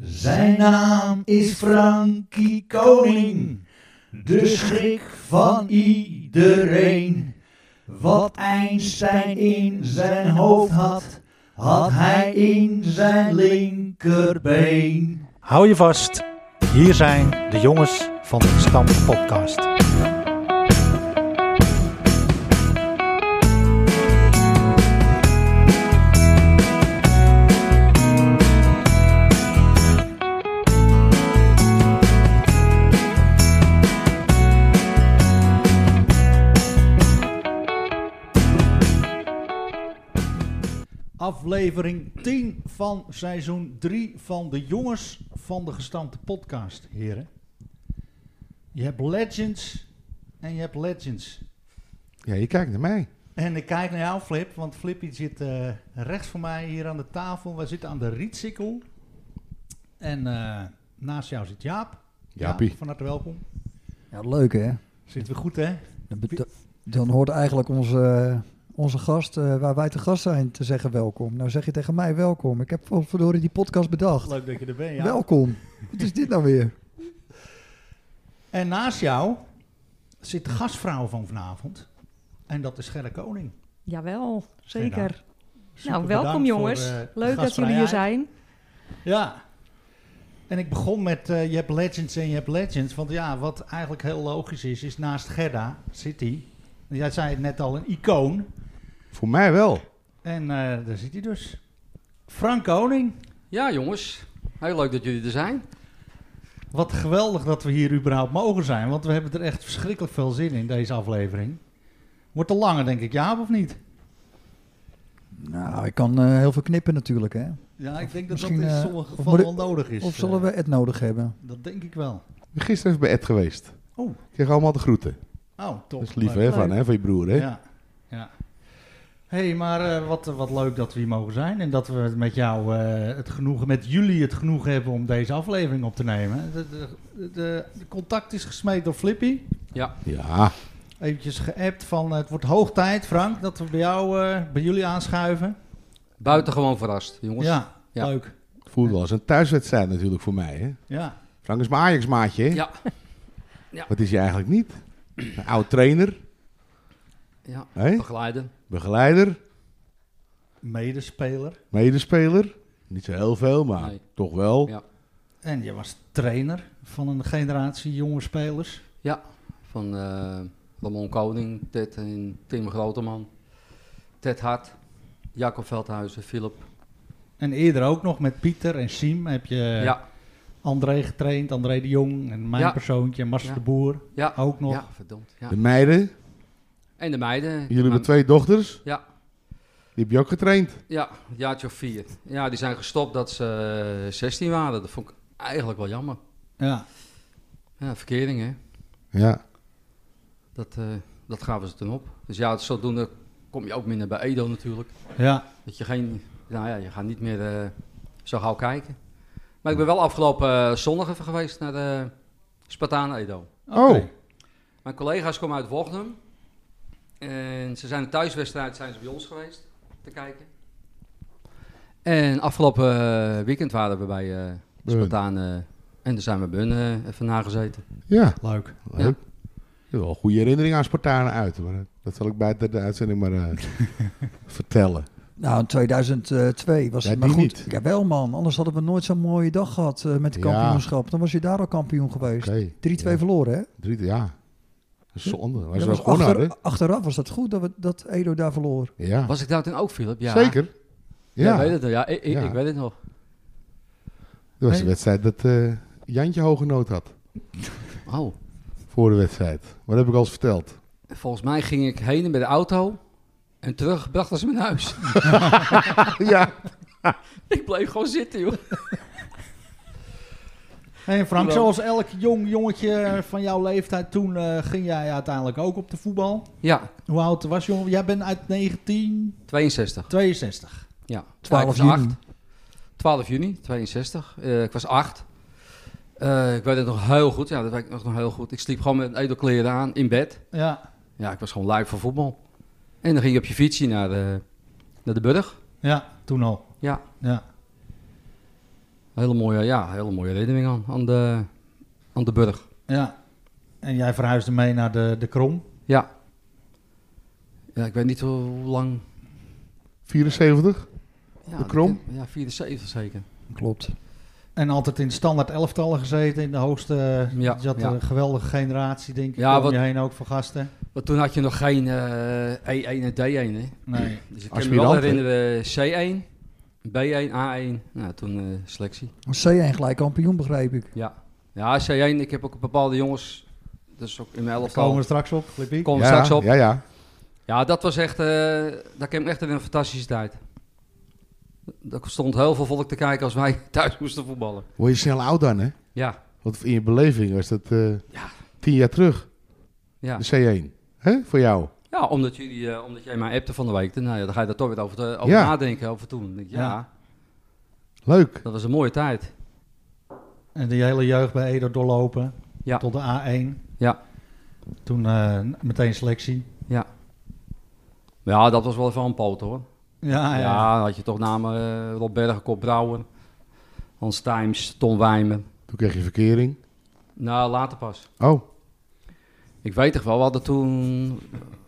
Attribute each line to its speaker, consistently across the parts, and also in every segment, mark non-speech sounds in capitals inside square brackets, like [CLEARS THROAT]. Speaker 1: Zijn naam is Frankie Koning, de schrik van iedereen. Wat Einstein in zijn hoofd had, had hij in zijn linkerbeen.
Speaker 2: Hou je vast. Hier zijn de jongens van de Stam Podcast.
Speaker 1: Aflevering 10 van seizoen 3 van de jongens van de gestampte podcast, heren. Je hebt legends en je hebt legends.
Speaker 3: Ja, je kijkt naar mij.
Speaker 1: En ik kijk naar jou, Flip, want Flippy zit eh, rechts van mij hier aan de tafel. Wij zitten aan de rietsikkel. En eh, naast jou zit Jaap.
Speaker 3: Jaapie.
Speaker 1: Jaap, van harte welkom.
Speaker 4: Ja, leuk hè.
Speaker 1: Zitten we goed, hè?
Speaker 4: Dan, bet- dan hoort eigenlijk onze, eh, onze gast, eh, waar wij te gast zijn, te zeggen welkom. Nou zeg je tegen mij welkom. Ik heb verdorie die podcast bedacht.
Speaker 1: Leuk dat je er bent, ja.
Speaker 4: Welkom. Wat is dit nou weer?
Speaker 1: En naast jou zit de gastvrouw van vanavond. En dat is Gerre Koning.
Speaker 5: Jawel,
Speaker 1: Geen
Speaker 5: zeker.
Speaker 1: Super bedankt
Speaker 5: Nou,
Speaker 1: voor,
Speaker 5: welkom jongens.
Speaker 1: eh, de
Speaker 5: Leuk dat jullie
Speaker 1: gastvrijheid.
Speaker 5: hier zijn.
Speaker 1: Ja. En ik begon met eh, je hebt legends en je hebt legends. Want ja, wat eigenlijk heel logisch is, is naast Gerda zit hij. Jij zei het net al, een icoon.
Speaker 3: Voor mij wel.
Speaker 1: En eh, daar zit hij dus. Frank Koning.
Speaker 6: Ja, jongens. Heel leuk dat jullie er zijn.
Speaker 1: Wat geweldig dat we hier überhaupt mogen zijn. Want we hebben er echt verschrikkelijk veel zin in, deze aflevering. Wordt te langer, denk ik, ja of niet?
Speaker 4: Nou, ik kan eh, heel veel knippen natuurlijk hè.
Speaker 1: Ja, ik denk
Speaker 4: dat Misschien, dat in eh, sommige of gevallen moet
Speaker 1: onnodig
Speaker 4: ik-
Speaker 1: nodig is. eh,
Speaker 4: Of
Speaker 3: eh,
Speaker 4: zullen we het nodig hebben?
Speaker 1: Dat denk ik wel.
Speaker 3: Ik ben gisteren even bij Ed geweest.
Speaker 1: Oh.
Speaker 3: Ik kreeg allemaal de groeten.
Speaker 1: Oh, top.
Speaker 3: Dat is lief
Speaker 1: Leuk.
Speaker 3: hè, van, hè, van je broer. Hè?
Speaker 1: Ja, ja. hey, maar eh, wat, wat leuk dat we hier mogen zijn. En dat we het met jou eh, het genoegen, met jullie het genoegen hebben om deze aflevering op te nemen. De, de, de, de contact is gesmeed door Flippy.
Speaker 3: Ja.
Speaker 1: Eventjes geappt van eh, het wordt hoog tijd, Frank, dat we bij jou, eh, bij jullie aanschuiven.
Speaker 6: Buitengewoon verrast, jongens.
Speaker 1: Ja,
Speaker 6: Ja.
Speaker 1: leuk.
Speaker 3: voelt wel als een thuiswedstrijd natuurlijk voor mij. Hè?
Speaker 1: Ja.
Speaker 3: Frank is mijn Ajax-maatje. hè?
Speaker 6: Ja.
Speaker 3: [LAUGHS] Wat is hij eigenlijk niet? Een oud trainer,
Speaker 6: ja.
Speaker 3: hè?
Speaker 6: Begeleiden.
Speaker 3: begeleider,
Speaker 1: Medespeler.
Speaker 3: medespeler. Niet zo heel veel, maar
Speaker 6: Nee.
Speaker 3: toch wel.
Speaker 6: Ja.
Speaker 1: En je was trainer van een generatie jonge spelers.
Speaker 6: Van eh Ramon Koning, Ted en Tim Groteman. Ted Hart, Jacob Veldhuizen, Philip.
Speaker 1: En eerder ook nog met Pieter en Siem heb je eh,
Speaker 6: ja.
Speaker 1: André getraind, André de Jong en mijn
Speaker 6: Ja.
Speaker 1: persoontje, Marcel
Speaker 6: Ja.
Speaker 1: de Boer.
Speaker 6: Ja.
Speaker 1: Ook nog.
Speaker 6: Ja, verdomd. Ja.
Speaker 3: De meiden,
Speaker 6: En de meiden.
Speaker 3: jullie hebben
Speaker 6: Mijn-
Speaker 3: twee dochters.
Speaker 6: Ja.
Speaker 3: Die heb je ook getraind.
Speaker 6: Ja, een jaartje of vier. Ja, die zijn gestopt dat ze eh, 16 waren. Dat vond ik eigenlijk wel jammer.
Speaker 1: Ja.
Speaker 6: Ja, verkering, hè.
Speaker 3: Ja.
Speaker 6: Dat, eh, dat gaven ze toen op. Dus ja, zodoende kom je ook minder bij Edo natuurlijk.
Speaker 1: Ja,
Speaker 6: Dat je geen, nou ja, je gaat niet meer eh, zo gauw kijken. Maar ik ben wel afgelopen eh, zondag even geweest naar de Spartaan Edo.
Speaker 1: oké.
Speaker 3: Oh.
Speaker 6: Mijn collega's komen uit Wognum. En ze zijn een thuiswedstrijd zijn ze bij ons geweest te kijken. En afgelopen eh, weekend waren we bij eh
Speaker 3: Bij hun.
Speaker 6: Spartaan. eh, en daar zijn we bij hun eh, even nagezeten.
Speaker 3: Ja.
Speaker 1: Leuk.
Speaker 3: Leuk. Ik heb wel een goede herinnering aan Spartanen uit. Maar dat- dat zal ik buiten de uitzending maar
Speaker 6: [LAUGHS]
Speaker 3: eh, vertellen.
Speaker 4: Nou, in 2002 was
Speaker 3: Ja,
Speaker 4: het maar
Speaker 3: die
Speaker 4: goed.
Speaker 3: niet.
Speaker 4: Jawel man, anders hadden we nooit zo'n mooie dag gehad eh, met de
Speaker 3: Ja.
Speaker 4: kampioenschap. Dan was je daar al kampioen geweest. 3-2
Speaker 3: Oké. Ja.
Speaker 4: verloren hè?
Speaker 3: Drie, ja. Een zonde. Was
Speaker 4: Dat
Speaker 3: wel
Speaker 4: was
Speaker 3: gewoon
Speaker 4: achter-
Speaker 3: hadden.
Speaker 4: achteraf was dat goed dat, we, dat Edo daar verloor.
Speaker 3: Ja.
Speaker 6: Was ik daar toen ook, Philip? Ja.
Speaker 3: Ah. Zeker.
Speaker 6: Ja,
Speaker 3: Ja.
Speaker 6: weet het nog. Ja, ik, ik-
Speaker 3: Ja.
Speaker 6: ik weet het nog.
Speaker 3: dat was
Speaker 1: Nee.
Speaker 3: de wedstrijd dat eh, Jantje hoge nood had.
Speaker 6: Oh.
Speaker 3: Voor de wedstrijd. Wat heb ik al eens verteld?
Speaker 6: Volgens mij ging ik heen met de auto. En terug brachten ze me naar huis.
Speaker 3: ja.
Speaker 6: [LAUGHS] ik bleef gewoon zitten, joh.
Speaker 1: En Frank,
Speaker 6: Hallo.
Speaker 1: zoals elk jong jongetje van jouw leeftijd toen eh, ging jij uiteindelijk ook op de voetbal.
Speaker 6: Ja,
Speaker 1: Hoe oud was je? jongen? Jij bent uit 1962.
Speaker 6: 62. Ja.
Speaker 4: 12
Speaker 6: Ja, ik was
Speaker 4: juni.
Speaker 6: acht. 12 juni, 62. Eh, ik was 8. ik weet het nog heel goed. Ja, dat weet ik nog nog heel goed. Ik sliep gewoon met edelkleren aan in bed.
Speaker 1: Ja,
Speaker 6: Ja, ik was gewoon lui voor voetbal. En dan ging je op je fietsje naar de, naar de Burg.
Speaker 1: ja, toen al.
Speaker 6: Ja.
Speaker 1: Ja.
Speaker 6: Hele mooie, ja, hele mooie herinnering aan, aan, de, aan de burg.
Speaker 1: Ja. En jij verhuisde mee naar de, de Krom.
Speaker 6: Ja. ja. Ik weet niet hoe lang.
Speaker 3: 74?
Speaker 6: Ja,
Speaker 3: De Krom?
Speaker 6: dat- Ja, 74 zeker.
Speaker 4: Klopt.
Speaker 1: En altijd in standaard elftallen gezeten. In de hoogste. eh,
Speaker 6: Ja,
Speaker 1: je had
Speaker 6: ja.
Speaker 1: een geweldige generatie, denk ik.
Speaker 6: Ja,
Speaker 1: Ja, om
Speaker 6: wat-
Speaker 1: je heen ook van gasten.
Speaker 6: Want toen had je nog geen eh, E1 en D1. Hè?
Speaker 1: Nee.
Speaker 6: Dus ik kan me wel
Speaker 3: Aspirant, hè?
Speaker 6: herinneren eh, C1, B1, A1. Nou, toen eh, selectie.
Speaker 4: C1 gelijk kampioen, begrijp ik.
Speaker 6: Ja. ja, C1. Ik heb ook bepaalde jongens, dus ook in mijn
Speaker 1: Daar komen
Speaker 6: elftal.
Speaker 1: we straks op. Flippie.
Speaker 6: Kom
Speaker 3: ja,
Speaker 6: straks op. Ja.
Speaker 3: Ja, ja.
Speaker 6: dat was echt, eh dat kwam echt in een fantastische tijd. Er stond heel veel volk te kijken als wij [LAUGHS] thuis moesten voetballen.
Speaker 3: Word je snel oud dan, hè?
Speaker 6: Ja,
Speaker 3: Want in je beleving was dat eh,
Speaker 6: Ja.
Speaker 3: tien jaar terug,
Speaker 6: ja.
Speaker 3: de C1. hè? Voor jou.
Speaker 6: ja omdat, jullie, eh, omdat jij mij appte van de week, nou ja, dan ga je daar toch weer over, te- over
Speaker 3: Ja.
Speaker 6: nadenken, over toen. Dan denk ik, Ja,
Speaker 1: Ja.
Speaker 3: Leuk.
Speaker 6: dat was een mooie tijd.
Speaker 1: En die hele jeugd bij Edo doorlopen.
Speaker 6: Ja.
Speaker 1: Tot de A1.
Speaker 6: Ja.
Speaker 1: Toen eh, meteen selectie.
Speaker 6: Ja, dat was wel even een poot hoor.
Speaker 1: Ja, ja.
Speaker 6: Ah, ja, dan had je toch namen eh, Rob Bergen, Kop Brouwer, Hans Times, Ton Wijmen.
Speaker 3: Toen kreeg je verkering.
Speaker 6: Nou, later pas.
Speaker 3: Oh,
Speaker 6: Ik weet toch wel, we hadden toen,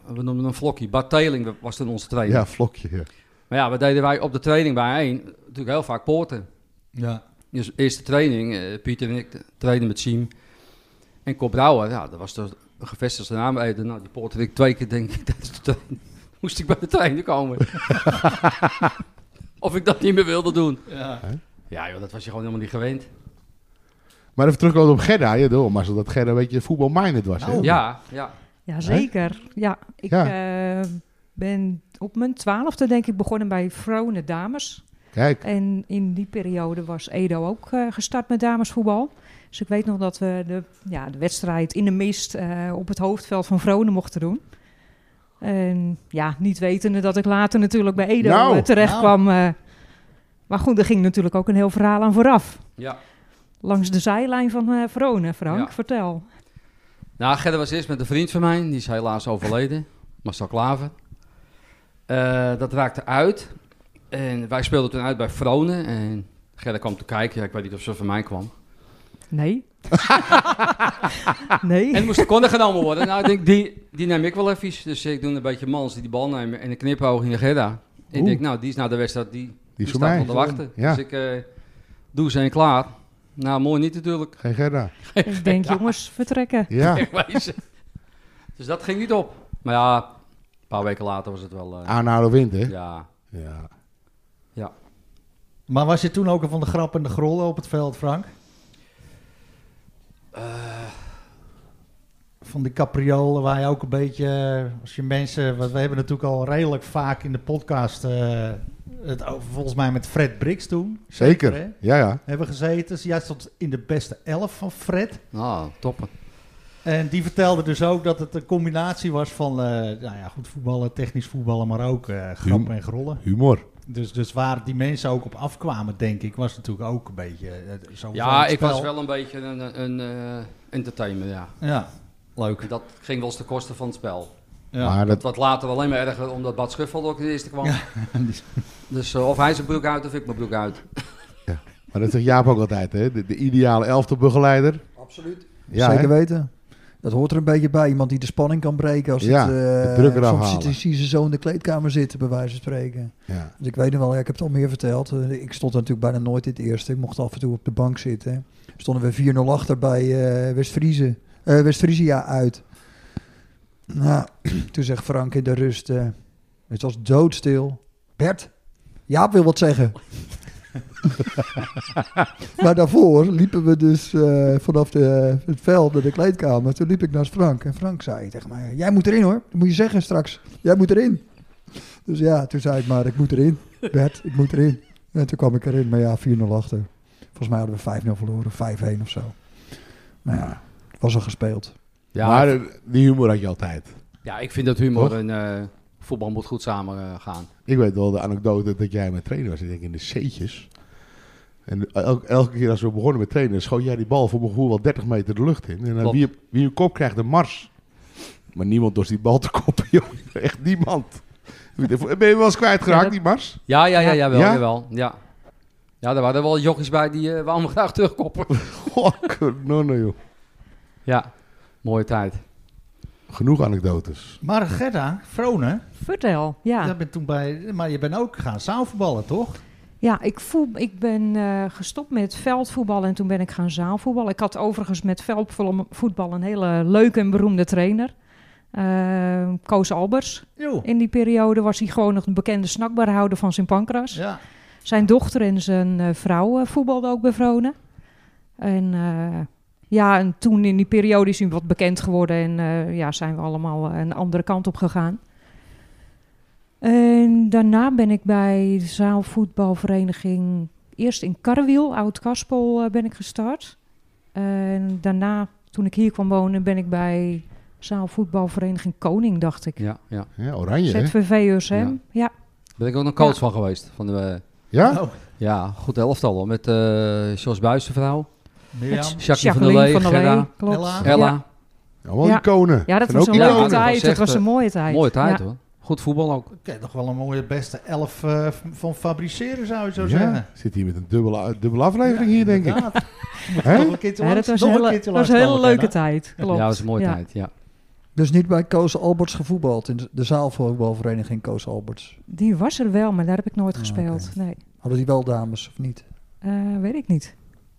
Speaker 6: we noemden een vlokje, Bart Teling was toen onze trainer.
Speaker 3: ja, vlokje. ja.
Speaker 6: Maar ja, we deden wij op de training bijeen natuurlijk heel vaak poorten.
Speaker 1: Ja.
Speaker 6: Dus eerste training, eh, Pieter en ik trainen met Siem en Kop Brouwer. Ja, dat was toch een gevestigde naam. Eh, Nou, die poorten ik twee keer denk ik [LAUGHS] tijdens de training. Moest ik bij de trainer komen. of ik dat niet meer wilde doen.
Speaker 1: Ja.
Speaker 6: Ja joh, dat was je gewoon helemaal niet gewend.
Speaker 3: Maar even terugkomen op Gerda. Je doet maar zo dat Gerda een beetje voetbalminded was. hè?
Speaker 6: Oh. Ja, ja.
Speaker 5: Ja, zeker. Ja, ik eh, ben op mijn twaalfde denk ik begonnen bij Vrone Dames.
Speaker 3: Kijk,
Speaker 5: En in die periode was Edo ook eh, gestart met damesvoetbal. Dus ik weet nog dat we de, ja, de wedstrijd in de mist eh, op het hoofdveld van Vrone mochten doen. En ja, niet wetende dat ik later natuurlijk bij Edo
Speaker 3: Nou,
Speaker 5: eh, terecht
Speaker 1: nou.
Speaker 5: kwam. eh. maar goed, er ging natuurlijk ook een heel verhaal aan vooraf.
Speaker 6: ja.
Speaker 5: Langs de zijlijn van eh Vrone, Frank,
Speaker 6: Ja.
Speaker 5: vertel.
Speaker 6: Nou, Gerda was eerst met een vriend van mij, die is helaas overleden, Marcel Klaver. Eh, dat raakte uit. En wij speelden toen uit bij Vronen. En Gerda kwam te kijken, ja, ik weet niet of ze van mij kwam.
Speaker 5: [LAUGHS] Nee. nee.
Speaker 6: En er moest de corner genomen worden. Nou, ik denk, die, die neem ik wel even. Dus ik doe een beetje mans die die bal nemen en een knipoog in de Gerda. En ik
Speaker 3: Oeh.
Speaker 6: denk, nou, die is naar de wedstrijd, die,
Speaker 3: die is voor
Speaker 6: staat wel
Speaker 3: mij.
Speaker 6: te wachten.
Speaker 3: Ja.
Speaker 6: Dus ik eh, doe ze en klaar. Nou, mooi niet natuurlijk.
Speaker 3: Geen Gerda.
Speaker 5: Ik denk, jongens, vertrekken.
Speaker 6: [LAUGHS]
Speaker 3: Ja,
Speaker 6: Wegwezen. dus dat ging niet op. Maar ja, een paar weken later was het wel... eh,
Speaker 3: aanhouden wint, hè?
Speaker 6: ja.
Speaker 3: Ja.
Speaker 1: Maar was je toen ook al van de grap en de grollen op het veld, Frank?
Speaker 6: Eh.
Speaker 1: Van die capriolen waar je ook een beetje... eh, Als je mensen... Want we hebben natuurlijk al redelijk vaak in de podcast... eh, het over, volgens mij met Fred Brix toen. hè,
Speaker 3: Zeker. Ja, ja.
Speaker 1: hebben gezeten. Dus Jij stond in de beste elf van Fred.
Speaker 3: Ah,
Speaker 6: Nou, toppen.
Speaker 1: En die vertelde dus ook dat het een combinatie was van... eh, nou ja, goed voetballen, technisch voetballen, maar ook eh grappen en grollen.
Speaker 3: Humor.
Speaker 1: Dus, dus waar die mensen ook op afkwamen, denk ik, was natuurlijk ook een beetje eh, zo.
Speaker 6: Ja,
Speaker 1: zo'n
Speaker 6: ik was
Speaker 1: spel.
Speaker 6: wel een beetje een, een, een eh, entertainer, ja.
Speaker 1: Ja, leuk.
Speaker 6: En dat ging wel eens ten koste van het spel.
Speaker 1: Ja.
Speaker 3: Maar dat,
Speaker 6: Dat wat later alleen maar erger, omdat Bad Schuffel ook de eerste kwam.
Speaker 1: Ja.
Speaker 6: Dus eh, of hij zijn broek uit of ik mijn broek uit.
Speaker 3: maar dat zegt Jaap ook altijd, hè? De, de ideale elftebegeleider.
Speaker 4: Absoluut.
Speaker 3: Ja, hè?
Speaker 4: Zeker weten. Dat hoort er een beetje bij. Iemand die de spanning kan breken als
Speaker 3: Ja,
Speaker 4: het...
Speaker 3: de
Speaker 4: eh
Speaker 3: druk eraf
Speaker 4: soms
Speaker 3: halen.
Speaker 4: zit- zie je ze zo in de kleedkamer zitten, bij wijze van spreken.
Speaker 3: Ja.
Speaker 4: Dus ik weet nog wel, ja, ik heb het al meer verteld. Eh, Ik stond natuurlijk bijna nooit in het eerste. Ik mocht af en toe op de bank zitten. Stonden we 4-0 achter bij eh, West-Friese- eh, West-Friesia uit. Nou, [CLEARS THROAT] toen zegt Frank in de rust, eh, het was doodstil. Bert, Jaap wil wat zeggen. [LAUGHS] maar daarvoor liepen we dus eh, vanaf de, het veld naar de kleedkamer. Toen liep ik naast Frank en Frank zei tegen mij, jij moet erin hoor, dat moet je zeggen straks. Jij moet erin. Dus ja, toen zei ik maar, ik moet erin. Bert, ik moet erin. En toen kwam ik erin, maar ja, 4-0 achter. Volgens mij hadden we 5-0 verloren, 5-1 of zo. Maar ja, het was al gespeeld.
Speaker 6: Ja,
Speaker 3: Maar eh, die humor had je altijd.
Speaker 6: ja ik vind dat humor
Speaker 3: Toch?
Speaker 6: en eh, voetbal moet goed samen eh, gaan.
Speaker 3: Ik weet wel de anekdote dat jij met trainen was, ik denk in de C'tjes. En el- elke keer als we begonnen met trainen, schoot jij die bal voor mijn gevoel wel 30 meter de lucht in. En dan
Speaker 6: Klopt.
Speaker 3: wie, wie een kop krijgt, de mars. Maar niemand dorst die bal te koppen, [LAUGHS] joh. Echt niemand. Ben je wel eens
Speaker 5: Ja,
Speaker 3: kwijtgeraakt,
Speaker 5: dat-
Speaker 3: die mars?
Speaker 6: Ja, ja, ja, jawel,
Speaker 3: Ja?
Speaker 6: jawel. Ja. Ja, daar waren wel jockeys bij die eh we allemaal
Speaker 3: [LAUGHS]
Speaker 6: graag terugkoppen.
Speaker 3: Goh, kanonnen, joh.
Speaker 6: ja, mooie tijd.
Speaker 3: Genoeg anekdotes.
Speaker 1: Maar Gerda, Vrone,
Speaker 5: Vertel, ja.
Speaker 1: jij bent toen bij, maar je bent ook gaan zaalvoetballen, toch?
Speaker 5: Ja, ik, voel, ik ben eh, gestopt met veldvoetbal en toen ben ik gaan zaalvoetballen. Ik had overigens met veldvoetbal een hele leuke en beroemde trainer. Eh, Koos Albers.
Speaker 1: Jo.
Speaker 5: In die periode was hij gewoon nog een bekende snackbarhouder van Sint Pancras.
Speaker 1: Ja.
Speaker 5: Zijn dochter en zijn eh, vrouw eh, voetbalden ook bij Vronen. En eh, ja, en toen in die periode is hij wat bekend geworden en eh, ja, zijn we allemaal eh, een andere kant op gegaan. En daarna ben ik bij de zaalvoetbalvereniging eerst in Karrewiel, Oud-Kaspel, eh, ben ik gestart. En daarna, toen ik hier kwam wonen, ben ik bij zaalvoetbalvereniging Koning, dacht ik.
Speaker 6: Ja, ja.
Speaker 3: Ja, oranje, hè?
Speaker 5: ZVV USM, ja.
Speaker 6: Daar ben ik ook nog coach
Speaker 5: Ja.
Speaker 6: van geweest. Van de, eh,
Speaker 3: Ja?
Speaker 1: Oh,
Speaker 6: ja, goed elftal hoor. Met eh Jos Buijs, de vrouw.
Speaker 1: Mirjam.
Speaker 6: Jacqueline van der Lee, Gerda,
Speaker 5: klopt.
Speaker 1: Ella.
Speaker 5: Ja.
Speaker 6: Ella.
Speaker 3: Allemaal
Speaker 5: Ja.
Speaker 3: iconen.
Speaker 5: Ja, dat
Speaker 3: Zijn
Speaker 5: was
Speaker 3: ook
Speaker 5: een
Speaker 6: leuk.
Speaker 3: iconen.
Speaker 5: leuke
Speaker 6: Ja, dat
Speaker 5: tijd.
Speaker 6: was
Speaker 5: Dat
Speaker 6: echt,
Speaker 5: was
Speaker 6: eh,
Speaker 5: een mooie tijd.
Speaker 6: Mooie tijd
Speaker 5: Ja.
Speaker 6: hoor. Goed voetbal ook.
Speaker 1: Oké, nog wel een mooie beste elf eh, van fabriceren, zou je zo zeggen.
Speaker 3: Ja, zit hier met een dubbele, eh, dubbele aflevering hier, denk ik.
Speaker 1: Inderdaad.
Speaker 3: Hè?
Speaker 1: Nog een keertje
Speaker 5: Ja,
Speaker 1: langs,
Speaker 5: dat was
Speaker 1: nog
Speaker 5: een
Speaker 1: een
Speaker 5: hele,
Speaker 1: keertje
Speaker 5: dat was een
Speaker 1: langs
Speaker 5: hele
Speaker 1: komen,
Speaker 5: leuke
Speaker 1: Gerda.
Speaker 5: tijd. Klopt.
Speaker 6: Ja, dat was een mooie
Speaker 5: Ja.
Speaker 6: tijd. Ja.
Speaker 4: Dus niet bij Koos Alberts gevoetbald, in de zaalvoetbalvereniging Koos Alberts.
Speaker 5: Die was er wel, maar daar heb ik nooit
Speaker 4: Ah,
Speaker 5: gespeeld. Nee,
Speaker 4: Hadden die wel dames of niet?
Speaker 5: Eh, weet ik niet.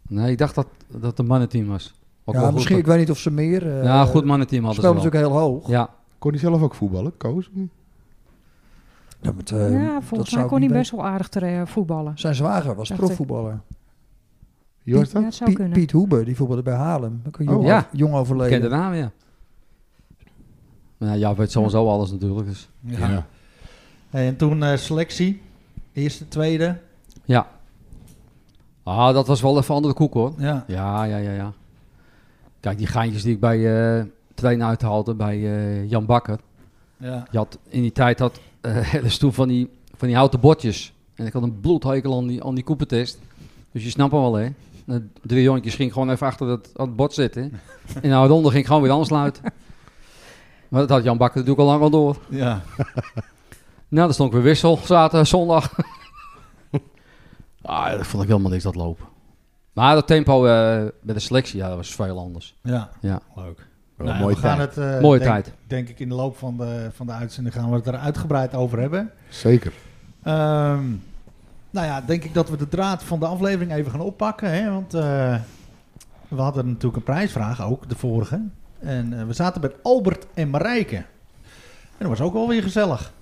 Speaker 6: Nee, ik dacht dat dat het een mannenteam was. Ook wel
Speaker 4: ja,
Speaker 6: goed,
Speaker 4: misschien, ik weet niet of ze meer. eh,
Speaker 6: ja, goed mannenteam
Speaker 4: Ze
Speaker 6: hadden
Speaker 4: speelden
Speaker 6: ze wel.
Speaker 4: natuurlijk heel hoog.
Speaker 6: Ja,
Speaker 3: Kon hij zelf ook voetballen, Koos? of niet?
Speaker 4: Ja, met,
Speaker 6: Ehm,
Speaker 4: eh,
Speaker 5: ja,
Speaker 4: dat
Speaker 5: volgens
Speaker 4: zou
Speaker 5: mij
Speaker 4: ik
Speaker 5: kon hij
Speaker 4: niet
Speaker 5: best wel aardig ter, eh, voetballen.
Speaker 4: weten. Zijn zwager was
Speaker 5: Dacht
Speaker 4: profvoetballer.
Speaker 3: Wie was
Speaker 5: Ja,
Speaker 3: dat?
Speaker 5: dat zou
Speaker 4: Piet,
Speaker 5: kunnen.
Speaker 4: Piet Hoebe, die voetbalde bij Haarlem. Ook een
Speaker 3: Oh,
Speaker 4: jong,
Speaker 6: ja.
Speaker 4: jong
Speaker 6: ik ken de
Speaker 4: overleden.
Speaker 6: naam, ja. Nou, ja, weet sowieso alles natuurlijk. Dus.
Speaker 1: Ja. En toen eh, selectie. Eerste, tweede.
Speaker 6: Ja. Ah, dat was wel even andere koek hoor.
Speaker 1: Ja.
Speaker 6: Ja, ja, ja, ja. Kijk, die geintjes die ik bij eh trainen uithaalde bij eh, Jan Bakker.
Speaker 1: ja.
Speaker 6: Je had in die tijd had eh, [LAUGHS] een hele stoel van die, van die houten bordjes. En ik had een bloedhekel aan die, aan die koepertest. Dus je snapt hem wel, hè? De drie jonkjes ging gewoon even achter dat, dat bord [LAUGHS] zitten. En nou, ronde ging ik gewoon weer aansluiten. Maar dat had Jan Bakker natuurlijk al lang al door.
Speaker 1: ja.
Speaker 6: Nou, dan stond ik weer wissel, zaterdag, zondag. [LAUGHS] ah, dat vond ik helemaal niks, dat lopen. Maar dat tempo eh bij de selectie, ja, dat was veel anders.
Speaker 1: Ja.
Speaker 6: Ja.
Speaker 1: Leuk.
Speaker 3: Wel
Speaker 1: Nou,
Speaker 3: een mooie
Speaker 1: we gaan
Speaker 3: tijd.
Speaker 1: het, eh,
Speaker 6: Mooie
Speaker 1: denk,
Speaker 6: tijd.
Speaker 1: Denk ik in de loop van de, van de uitzending gaan we het er uitgebreid over hebben.
Speaker 3: Zeker.
Speaker 1: Ehm, nou ja, denk ik dat we de draad van de aflevering even gaan oppakken. Hè? Want eh, we hadden natuurlijk een prijsvraag ook, de vorige. En eh, we zaten bij Albert en Marijke. En dat was ook wel weer gezellig.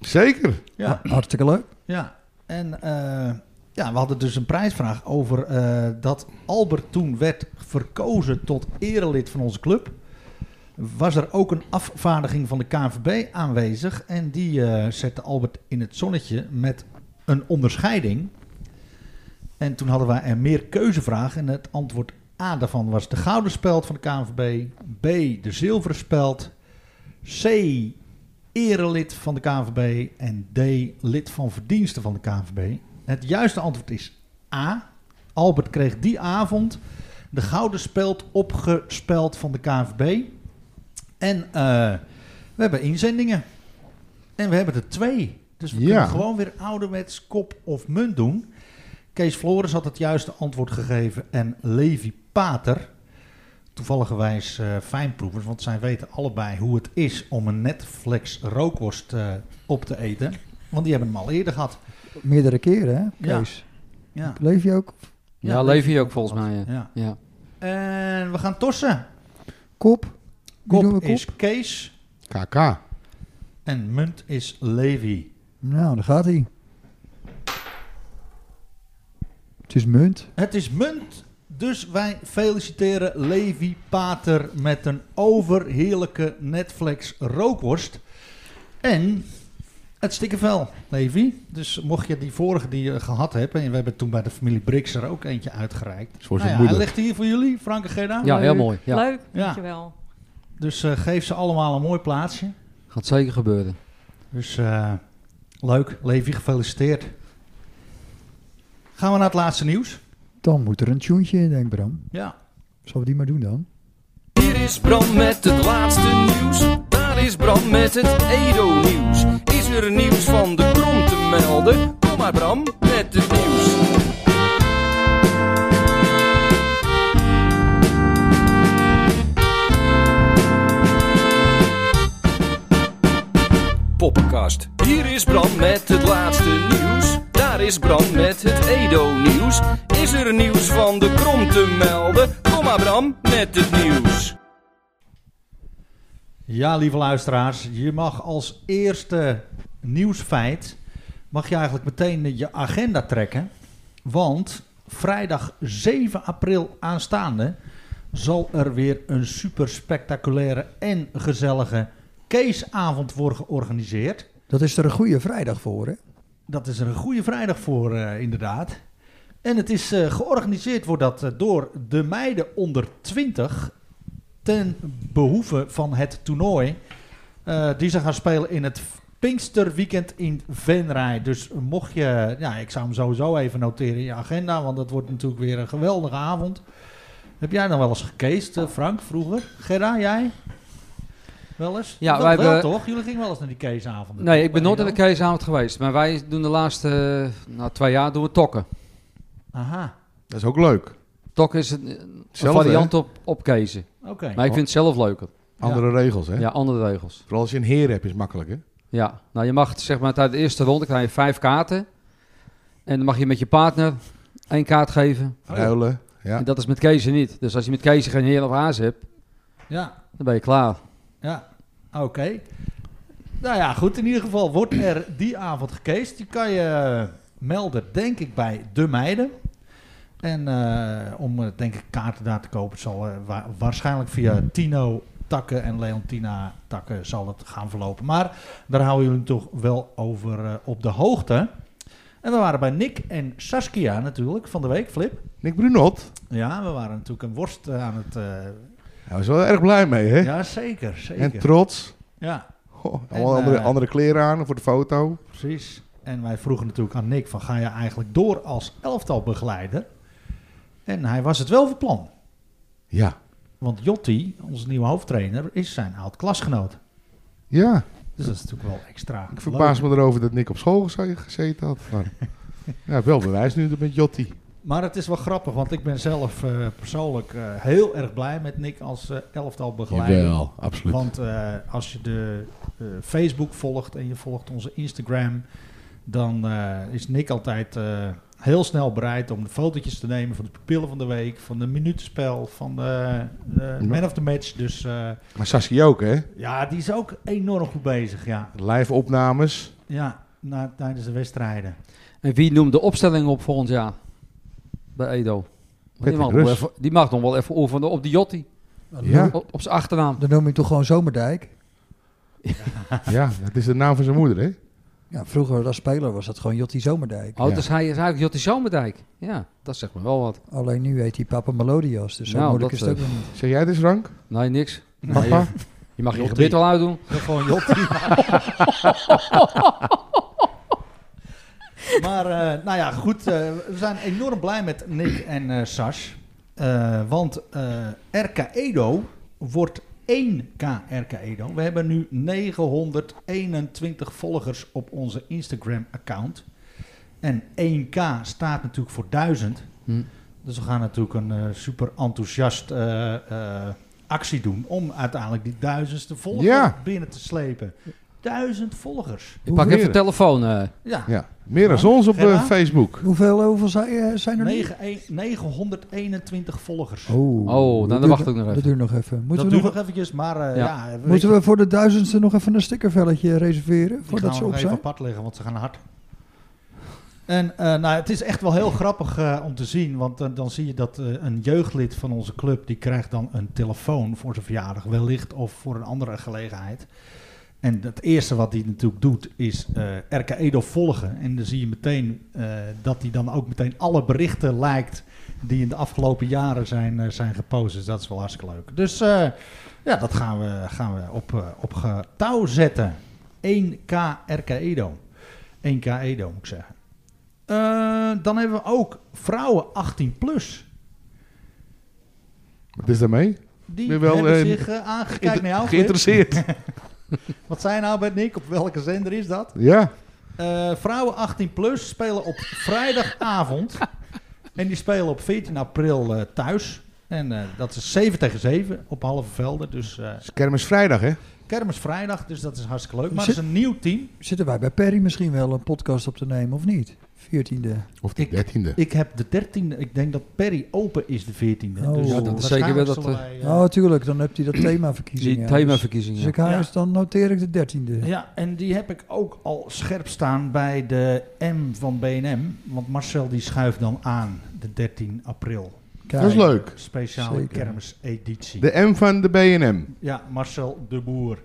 Speaker 3: Zeker.
Speaker 1: Ja.
Speaker 6: Ah,
Speaker 4: Ja, Hartstikke leuk.
Speaker 1: Ja, en eh, ja, we hadden dus een prijsvraag over eh, dat Albert toen werd verkozen tot erelid van onze club. Was er ook een afvaardiging van de KNVB aanwezig en die eh, zette Albert in het zonnetje met een onderscheiding. En toen hadden wij er meer keuzevragen en het antwoord A daarvan was de gouden speld van de KNVB, B de zilveren speld, C erelid van de KNVB en D. lid van verdiensten van de KNVB. Het juiste antwoord is A. Albert kreeg die avond de gouden speld opgespeld van de KNVB. En eh, we hebben inzendingen. En we hebben er twee. Dus we
Speaker 3: Ja.
Speaker 1: kunnen gewoon weer ouderwets kop of munt doen. Kees Flores had het juiste antwoord gegeven en Levi Pater. Toevalligerwijs eh, fijnproevers, want zij weten allebei hoe het is om een Netflix rookworst eh, op te eten. Want die hebben hem al eerder gehad.
Speaker 4: Meerdere keren, hè?
Speaker 1: Ja.
Speaker 4: Kees.
Speaker 1: Ja.
Speaker 4: Leef je ook?
Speaker 6: Ja,
Speaker 1: Ja,
Speaker 6: Levi ook volgens mij. Ja.
Speaker 1: ja.
Speaker 6: Ja.
Speaker 1: En we gaan tossen.
Speaker 4: Kop? Wie
Speaker 1: Kop,
Speaker 4: doen we kop?
Speaker 1: is Kees
Speaker 3: KK.
Speaker 1: en munt is Levi.
Speaker 4: Nou, daar gaat hij. Het is munt.
Speaker 1: Het is munt, dus wij feliciteren Levi Pater met een overheerlijke Netflix rookworst. En het stikkenvel, Levi. Dus mocht je die vorige die je gehad hebt, en we hebben toen bij de familie Brix er ook eentje uitgereikt.
Speaker 3: Is voor
Speaker 1: Nou
Speaker 3: zijn
Speaker 1: ja, hij
Speaker 3: moeder.
Speaker 1: ligt hier voor jullie, Frank en Gerda.
Speaker 6: Ja, heel mooi, ja.
Speaker 5: Leuk,
Speaker 1: Ja.
Speaker 5: dankjewel.
Speaker 1: Dus eh, geef ze allemaal een mooi plaatsje.
Speaker 6: Gaat zeker gebeuren.
Speaker 1: Dus eh, leuk, Levi, gefeliciteerd. Gaan we naar het laatste nieuws?
Speaker 4: Dan moet er een tuintje in, denk ik, Bram.
Speaker 1: Ja.
Speaker 4: Zullen we die maar doen dan?
Speaker 7: Hier is Bram met het laatste nieuws. Daar is Bram met het Edo-nieuws. Is er nieuws van de krom te melden? Kom maar Bram met het nieuws. is Bram met het laatste nieuws. Daar is Bram met het Edo-nieuws. Is er nieuws van de krom te melden? Kom maar Bram met het nieuws.
Speaker 1: Ja, lieve luisteraars, je mag als eerste nieuwsfeit mag je eigenlijk meteen je agenda trekken, want vrijdag 7 april aanstaande zal er weer een super spectaculaire en gezellige Keesavond worden georganiseerd.
Speaker 4: Dat is er een goede vrijdag voor, hè?
Speaker 1: Dat is er een goede vrijdag voor, eh, inderdaad. En het is eh, georganiseerd wordt dat, eh, door de meiden onder 20 ten behoeve van het toernooi. eh, die ze gaan spelen in het Pinksterweekend in Venray. Dus mocht je, ja, ik zou hem sowieso even noteren in je agenda, want dat wordt natuurlijk weer een geweldige avond. Heb jij dan wel eens gecased, eh, Frank, vroeger? Gerda, jij? Wel eens?
Speaker 6: Ja,
Speaker 1: Wel-
Speaker 6: wij
Speaker 1: wel,
Speaker 6: hebben-
Speaker 1: toch? Jullie gingen wel eens naar die caseavonden.
Speaker 6: Nee, ik ben
Speaker 1: Bij
Speaker 6: nooit in
Speaker 1: Edo?
Speaker 6: de Keesavond geweest. Maar wij doen de laatste eh, nou, twee jaar doen we tokken.
Speaker 1: Aha,
Speaker 3: Dat is ook leuk.
Speaker 6: Tokken is een, een
Speaker 3: Zelfde,
Speaker 6: variant op, op Kezen.
Speaker 1: oké.
Speaker 6: Maar ik vind het zelf leuker.
Speaker 3: Andere regels, hè?
Speaker 6: Ja, andere regels.
Speaker 3: Vooral als je een heer hebt, is het makkelijk, hè?
Speaker 6: Ja, nou je mag zeg maar tijdens de eerste ronde krijg je vijf kaarten. En dan mag je met je partner één kaart geven.
Speaker 1: Oh.
Speaker 3: Ruilen. Ja.
Speaker 6: En dat is met Kezen niet. Dus als je met Kezen geen heer of haas hebt,
Speaker 1: Ja,
Speaker 6: dan ben je klaar.
Speaker 1: Ja, oké. Nou ja, goed. In ieder geval wordt er die avond gecased. Je kan je melden, denk ik, bij De Meiden. En eh, om, eh, denk ik, kaarten daar te kopen zal eh, wa- waarschijnlijk via Tino Takken en Leontina Takken zal het gaan verlopen. Maar daar houden jullie toch wel over eh, op de hoogte. En we waren bij Nick en Saskia natuurlijk van de week, Flip.
Speaker 3: Nick Brunot.
Speaker 1: Ja, we waren natuurlijk een worst eh, aan het... eh
Speaker 3: Hij was wel erg blij mee, hè?
Speaker 1: ja, zeker,
Speaker 3: en
Speaker 1: zeker.
Speaker 3: trots.
Speaker 1: ja.
Speaker 3: Goh,
Speaker 1: En,
Speaker 3: allemaal andere,
Speaker 1: eh,
Speaker 3: andere kleren aan voor de foto.
Speaker 1: Precies. En wij vroegen natuurlijk aan Nick van ga je eigenlijk door als elftalbegeleider? En hij was het wel van plan.
Speaker 3: Ja.
Speaker 1: Want Jotti, onze nieuwe hoofdtrainer, is zijn oud klasgenoot.
Speaker 3: Ja.
Speaker 1: Dus dat is natuurlijk wel extra.
Speaker 3: Ik verbaas
Speaker 1: leuk.
Speaker 3: me erover dat Nick op school geze- gezeten had. Maar, [LAUGHS] ja, wel bewijs nu met Jotti.
Speaker 1: Maar het is wel grappig, want ik ben zelf eh, persoonlijk eh, heel erg blij met Nick als eh, elftalbegeleider.
Speaker 3: absoluut.
Speaker 1: Want eh, als je de eh, Facebook volgt en je volgt onze Instagram, dan eh, is Nick altijd eh, heel snel bereid om de fotootjes te nemen van de pupillen van de week, van de minuutspel, van de eh, man of the match. Dus eh,
Speaker 3: Maar Saskia ook, hè?
Speaker 1: ja, die is ook enorm goed bezig. Ja,
Speaker 3: Live opnames.
Speaker 1: ja na, tijdens de wedstrijden.
Speaker 6: En wie noemt de opstelling op volgend jaar? Bij Edo. Die
Speaker 3: Patrick
Speaker 6: mag, nog wel
Speaker 3: Rus.
Speaker 6: even, die mag nog wel even oefenen op de Jotti.
Speaker 3: Ja,
Speaker 6: Op, op zijn achternaam.
Speaker 4: Dan noem je toch gewoon Zomerdijk?
Speaker 3: ja, dat is de naam van zijn moeder, hè?
Speaker 4: Ja, vroeger als speler was dat gewoon Jotti Zomerdijk.
Speaker 6: Oh,
Speaker 3: Ja.
Speaker 6: dus hij is eigenlijk Jotti Zomerdijk. Ja, dat zegt me wel wat.
Speaker 4: Alleen nu heet hij Papa Melodias, dus zo
Speaker 6: Nou,
Speaker 4: moeilijk is
Speaker 6: dat,
Speaker 4: het ook nog niet.
Speaker 3: Zeg jij dus, Frank?
Speaker 6: Nee, niks.
Speaker 3: Papa?
Speaker 6: Je mag je
Speaker 1: Jotti.
Speaker 6: dit al uitdoen.
Speaker 1: Dat gewoon Jotti. maar eh, nou ja, goed. eh, we zijn enorm blij met Nick en eh, Sas. Eh, want eh, RK Edo wordt 1K RK Edo. We hebben nu 921 volgers op onze Instagram-account. En 1K staat natuurlijk voor 1000.
Speaker 6: Hm.
Speaker 1: Dus we gaan natuurlijk een eh, super enthousiast eh, eh, actie doen om uiteindelijk die duizendste volger
Speaker 3: Ja.
Speaker 1: binnen te slepen. Duizend volgers.
Speaker 6: Ik pak even de telefoon. eh.
Speaker 1: Ja,
Speaker 3: Ja, meer dan ons op eh,
Speaker 1: Gerda?
Speaker 3: Facebook.
Speaker 4: Hoeveel, hoeveel zijn, eh, zijn er nu?
Speaker 1: 9 een- 921 volgers.
Speaker 4: Oh,
Speaker 6: Oh,
Speaker 4: dat
Speaker 6: dan
Speaker 4: duurt-
Speaker 6: wacht ik nog even.
Speaker 4: Dat duurt nog even. Moeten,
Speaker 1: dat
Speaker 4: we,
Speaker 1: doe
Speaker 4: nog,
Speaker 1: nog eventjes, maar eh,
Speaker 6: Ja.
Speaker 1: ja. weet
Speaker 4: moeten
Speaker 1: je,
Speaker 4: we voor de duizendste nog even een stickervelletje reserveren?
Speaker 1: die gaan
Speaker 4: Voordat
Speaker 1: we
Speaker 4: ze
Speaker 1: nog
Speaker 4: op
Speaker 1: even
Speaker 4: zijn?
Speaker 1: apart liggen, want ze gaan hard. En eh, nou, het is echt wel heel grappig eh, om te zien, want eh, dan zie je dat eh, een jeugdlid van onze club, die krijgt dan een telefoon voor zijn verjaardag, wellicht of voor een andere gelegenheid. En het eerste wat hij natuurlijk doet is eh RK Edo volgen. En dan zie je meteen eh, dat hij dan ook meteen alle berichten lijkt die in de afgelopen jaren zijn, eh, zijn gepost. Dus dat is wel hartstikke leuk. Dus eh, ja, dat gaan we, gaan we op, eh, op ge- touw zetten. 1K RK Edo. 1K Edo moet ik zeggen. Eh, dan hebben we ook vrouwen 18 plus.
Speaker 3: Wat is daarmee?
Speaker 1: Die
Speaker 3: Ben wel,
Speaker 1: hebben
Speaker 3: eh,
Speaker 1: zich eh, aangekeken naar jou. Flip. [LAUGHS]
Speaker 3: Geïnteresseerd.
Speaker 1: Wat zijn nou bij Nick? Op welke zender is dat?
Speaker 3: ja,
Speaker 1: Eh, vrouwen 18 plus spelen op vrijdagavond. en die spelen op 14 april eh, thuis En eh, dat is 7 tegen 7 op halve velden. Dus eh
Speaker 3: Het is kermis vrijdag, hè?
Speaker 1: kermis vrijdag, dus dat is hartstikke leuk. Maar
Speaker 4: Zit-
Speaker 1: het is een nieuw team.
Speaker 4: Zitten wij bij Perry misschien wel een podcast op te nemen of niet? 14e.
Speaker 3: Of de
Speaker 1: Ik-
Speaker 3: dertiende.
Speaker 1: Ik heb de 13e, ik denk dat Perry open is de 14e.
Speaker 4: Oh.
Speaker 1: Dus
Speaker 4: Ja, dat
Speaker 6: is zeker wel
Speaker 1: waarschijnlijk
Speaker 6: dat,
Speaker 1: zullen wij, eh,
Speaker 4: Oh, tuurlijk. Dan heb je dat themaverkiezing.
Speaker 6: Die
Speaker 4: ja. Dus
Speaker 6: themaverkiezingen.
Speaker 4: ik haal
Speaker 1: Ja.
Speaker 4: eens, dan noteer ik de 13e.
Speaker 1: Ja, en die heb ik ook al scherp staan bij de M van BNM. Want Marcel die schuift dan aan de 13 april.
Speaker 4: Kijk.
Speaker 3: Dat is leuk.
Speaker 1: Speciale
Speaker 4: Zeker.
Speaker 1: kermiseditie.
Speaker 3: De M van de BM.
Speaker 1: Ja, Marcel de Boer.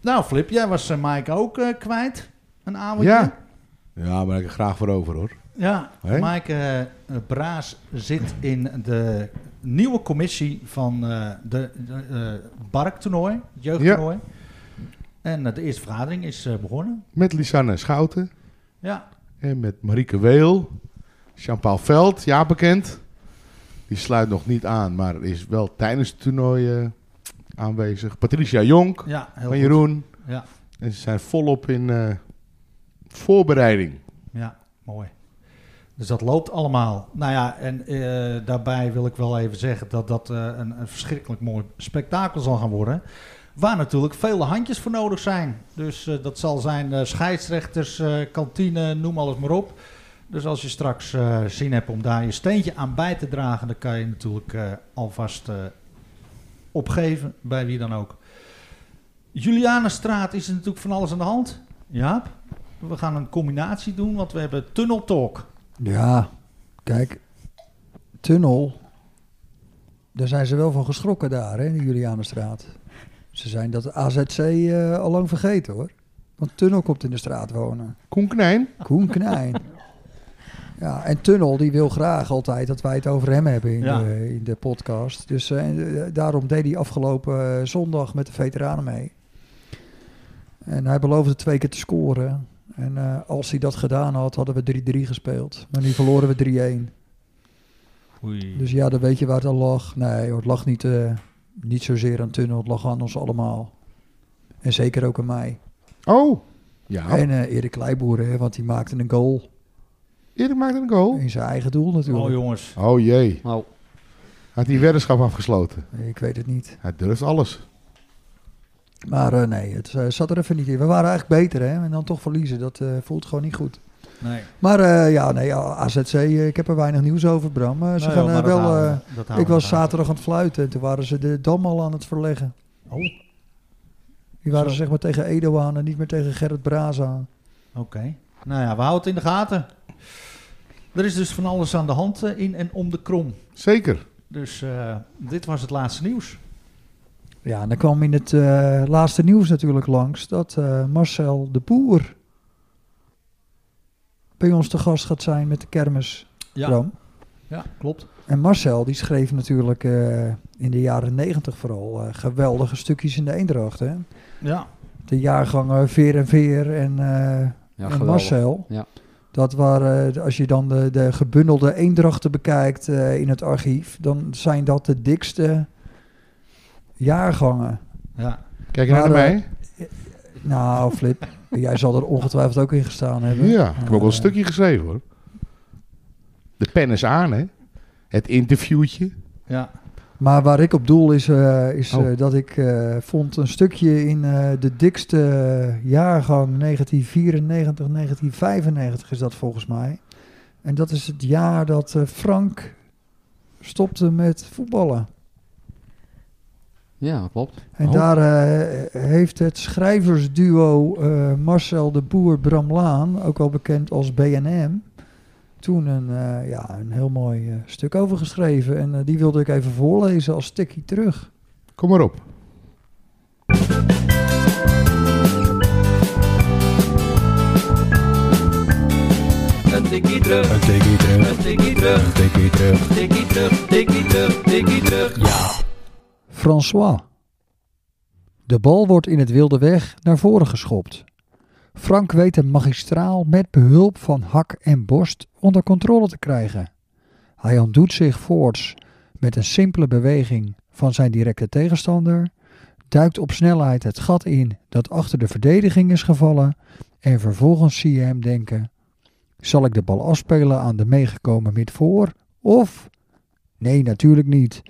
Speaker 1: Nou, Flip, jij was eh, Mike ook eh, kwijt. Een avondje.
Speaker 3: Ja. Ja, maar ik heb er graag voor over hoor.
Speaker 1: Ja,
Speaker 3: Hé?
Speaker 1: Maaike eh, Braas zit in de nieuwe commissie van eh, de, de eh, Bark-toernooi, het jeugdtoernooi. En eh, de eerste vergadering is eh, begonnen.
Speaker 3: Met Lisanne Schouten
Speaker 1: Ja,
Speaker 3: en met Marieke Weel. Jean-Paul Veld, ja bekend. Die sluit nog niet aan, maar is wel tijdens het toernooi eh, aanwezig. Patricia Jonk
Speaker 1: ja heel
Speaker 3: van
Speaker 1: goed.
Speaker 3: Jeroen.
Speaker 1: Ja,
Speaker 3: En ze zijn volop in eh, voorbereiding.
Speaker 1: ja, mooi. Dus dat loopt allemaal. Nou ja, en eh, daarbij wil ik wel even zeggen dat dat eh, een, een verschrikkelijk mooi spektakel zal gaan worden. Waar natuurlijk vele handjes voor nodig zijn. Dus eh, dat zal zijn eh, scheidsrechters, eh, kantine, noem alles maar op. Dus als je straks eh, zin hebt om daar je steentje aan bij te dragen, dan kan je natuurlijk eh, alvast eh, opgeven bij wie dan ook. Julianenstraat is er natuurlijk van alles aan de hand. Jaap, we gaan een combinatie doen, want we hebben Tunnel Talk.
Speaker 4: Ja, kijk, tunnel. Daar zijn ze wel van geschrokken daar, hè, in de Julianenstraat. Ze zijn dat AZC eh, al lang vergeten, hoor. Want tunnel komt in de straat wonen.
Speaker 3: Koen Knijn,
Speaker 4: Koen Knijn. Ja, en Tunnel die wil graag altijd dat wij het over hem hebben in,
Speaker 1: Ja.
Speaker 4: de, in de podcast. Dus eh, en, eh, daarom deed hij afgelopen eh, zondag met de veteranen mee. En hij beloofde twee keer te scoren. En eh, als hij dat gedaan had, hadden we 3-3 gespeeld. Maar nu verloren we 3-1. Dus ja, dan weet je waar het aan lag. Nee, hoor, het lag niet, eh, niet zozeer aan Tunnel. Het lag aan ons allemaal. En zeker ook aan mij.
Speaker 3: Oh, ja.
Speaker 4: En eh, Erik Kleiboer, hè, want die maakte een goal.
Speaker 3: Erik maakt een goal.
Speaker 4: In zijn eigen doel
Speaker 1: Oh
Speaker 4: natuurlijk.
Speaker 1: jongens,
Speaker 3: Oh jee.
Speaker 6: Nou,
Speaker 3: Had hij weddenschap afgesloten.
Speaker 4: ik weet het niet.
Speaker 3: Hij durft alles.
Speaker 4: Maar eh, nee, het eh, zat er even niet in. We waren eigenlijk beter, hè. En dan toch verliezen, dat eh, voelt gewoon niet goed.
Speaker 1: nee.
Speaker 4: Maar eh, ja, nee, ja, AZC, eh, ik heb er weinig nieuws over, Bram. Eh, ze
Speaker 1: Nou
Speaker 4: gaan
Speaker 1: ja,
Speaker 4: eh,
Speaker 1: maar dat
Speaker 4: wel...
Speaker 1: houden
Speaker 4: eh,
Speaker 1: we- dat houden
Speaker 4: ik
Speaker 1: we
Speaker 4: was
Speaker 1: daar.
Speaker 4: zaterdag aan het fluiten en toen waren ze de dam al aan het verleggen.
Speaker 1: Oh,
Speaker 4: Die waren
Speaker 1: Zo.
Speaker 4: zeg maar tegen Edo aan en niet meer tegen Gerrit Braas aan.
Speaker 1: oké. Nou ja, we houden het in de gaten. Er is dus van alles aan de hand eh, in en om de krom.
Speaker 3: Zeker.
Speaker 1: Dus eh, dit was het laatste nieuws.
Speaker 4: Ja, en dan kwam in het eh, laatste nieuws natuurlijk langs dat eh, Marcel de Boer bij ons te gast gaat zijn met de kermis, Bram.
Speaker 1: ja klopt.
Speaker 4: En Marcel die schreef natuurlijk eh, in de jaren negentig vooral eh, geweldige stukjes in de Eendracht. Hè?
Speaker 1: Ja,
Speaker 4: De jaargangen Veer en Veer en, eh,
Speaker 6: ja,
Speaker 4: en
Speaker 6: geweldig.
Speaker 4: Marcel.
Speaker 6: Ja.
Speaker 4: Dat waren, eh, als je dan de, de gebundelde eendrachten bekijkt eh, in het archief, dan zijn dat de dikste jaargangen.
Speaker 1: ja.
Speaker 3: Kijk je naar
Speaker 4: Maar, eh,
Speaker 3: mij?
Speaker 4: Nou, Flip, [LAUGHS] jij zal er ongetwijfeld ook in gestaan hebben.
Speaker 3: Ja,
Speaker 6: Ah,
Speaker 3: ik heb ook wel
Speaker 4: Eh,
Speaker 3: een stukje geschreven hoor. De pen is aan, hè? Het interviewtje.
Speaker 1: ja.
Speaker 4: Maar waar ik op doel is, eh, is eh,
Speaker 3: Oh.
Speaker 4: dat ik eh, vond een stukje in eh, de dikste eh, jaargang 1994, 1995 is dat volgens mij. En dat is het jaar dat eh, Frank stopte met voetballen.
Speaker 6: Ja, klopt.
Speaker 4: En
Speaker 3: Oh.
Speaker 4: daar eh, heeft het schrijversduo eh, Marcel de Boer Bram Laan, ook al bekend als BNM, toen een, eh, ja, een heel mooi eh, stuk over geschreven. En eh, die wilde ik even voorlezen als stikkie terug.
Speaker 3: Kom maar op.
Speaker 7: Een tikkie terug,
Speaker 2: Een tikkie terug,
Speaker 7: een tikkie terug,
Speaker 2: een tikkie terug.
Speaker 7: tikkie terug, tikkie terug, tikkie terug.
Speaker 4: François. De bal wordt in het wilde weg naar voren geschopt. Frank weet hem magistraal met behulp van hak en borst onder controle te krijgen. Hij ontdoet zich voorts met een simpele beweging van zijn directe tegenstander, duikt op snelheid het gat in dat achter de verdediging is gevallen en vervolgens zie je hem denken: zal ik de bal afspelen aan de meegekomen midvoor of Nee, natuurlijk niet.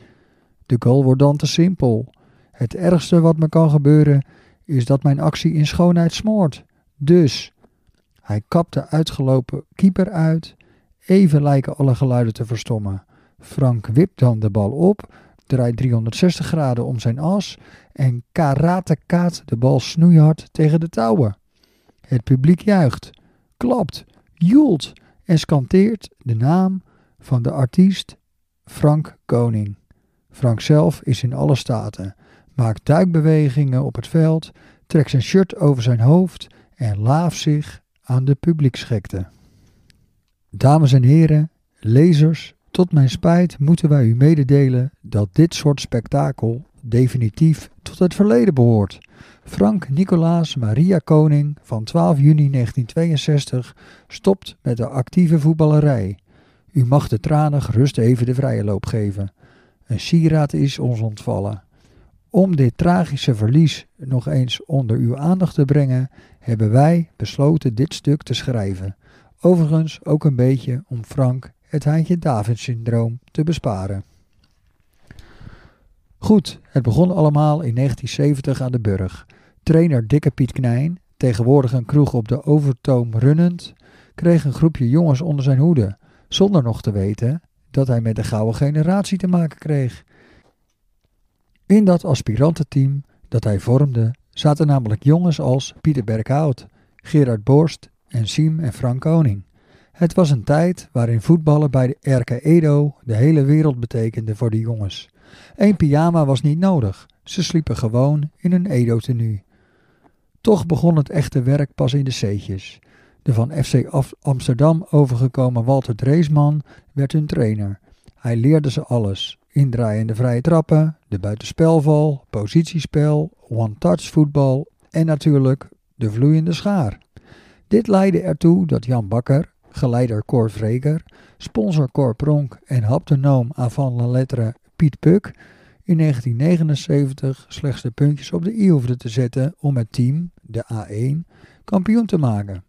Speaker 4: De goal wordt dan te simpel. Het ergste wat me kan gebeuren is dat mijn actie in schoonheid smoort. Dus, hij kapt de uitgelopen keeper uit. Even lijken alle geluiden te verstommen. Frank wipt dan de bal op, draait 360 graden om zijn as en karatekaat de bal snoeihard tegen de touwen. Het publiek juicht, klapt, joelt en scanteert de naam van de artiest Frank Koning. Frank zelf is in alle staten, maakt duikbewegingen op het veld, trekt zijn shirt over zijn hoofd en laaft zich aan de publieksgekte. Dames en heren, lezers, tot mijn spijt moeten wij u mededelen dat dit soort spektakel definitief tot het verleden behoort. Frank Nicolaas Maria Koning van 12 juni 1962 stopt met de actieve voetballerij. U mag de tranen gerust even de vrije loop geven. Een sieraad is ons ontvallen. Om dit tragische verlies nog eens onder uw aandacht te brengen, hebben wij besloten dit stuk te schrijven. Overigens ook een beetje om Frank het Haantje Davids syndroom te besparen. Goed, het begon allemaal in 1970 aan de Burg. Trainer Dikke Piet Knijn, tegenwoordig een kroeg op de Overtoom runnend, kreeg een groepje jongens onder zijn hoede, zonder nog te weten dat hij met de gouden generatie te maken kreeg. In dat aspirantenteam dat hij vormde zaten namelijk jongens als Pieter Berkhout, Gerard Borst en Siem en Frank Koning. Het was een tijd waarin voetballen bij de RK Edo de hele wereld betekende voor de jongens. Eén pyjama was niet nodig, ze sliepen gewoon in een Edo-tenue. Toch begon het echte werk pas in de C'tjes. De van FC Af- Amsterdam overgekomen Walter Dreesman werd hun trainer. Hij leerde ze alles: indraaiende vrije trappen, de buitenspelval, positiespel, one-touch voetbal en natuurlijk de vloeiende schaar. Dit leidde ertoe dat Jan Bakker, geleider Cor Vreker, sponsor Cor Pronk en haptonoom avant la lettre Piet Puk in 1979 slechts de puntjes op de i hoefde te zetten om het team, de A1, kampioen te maken.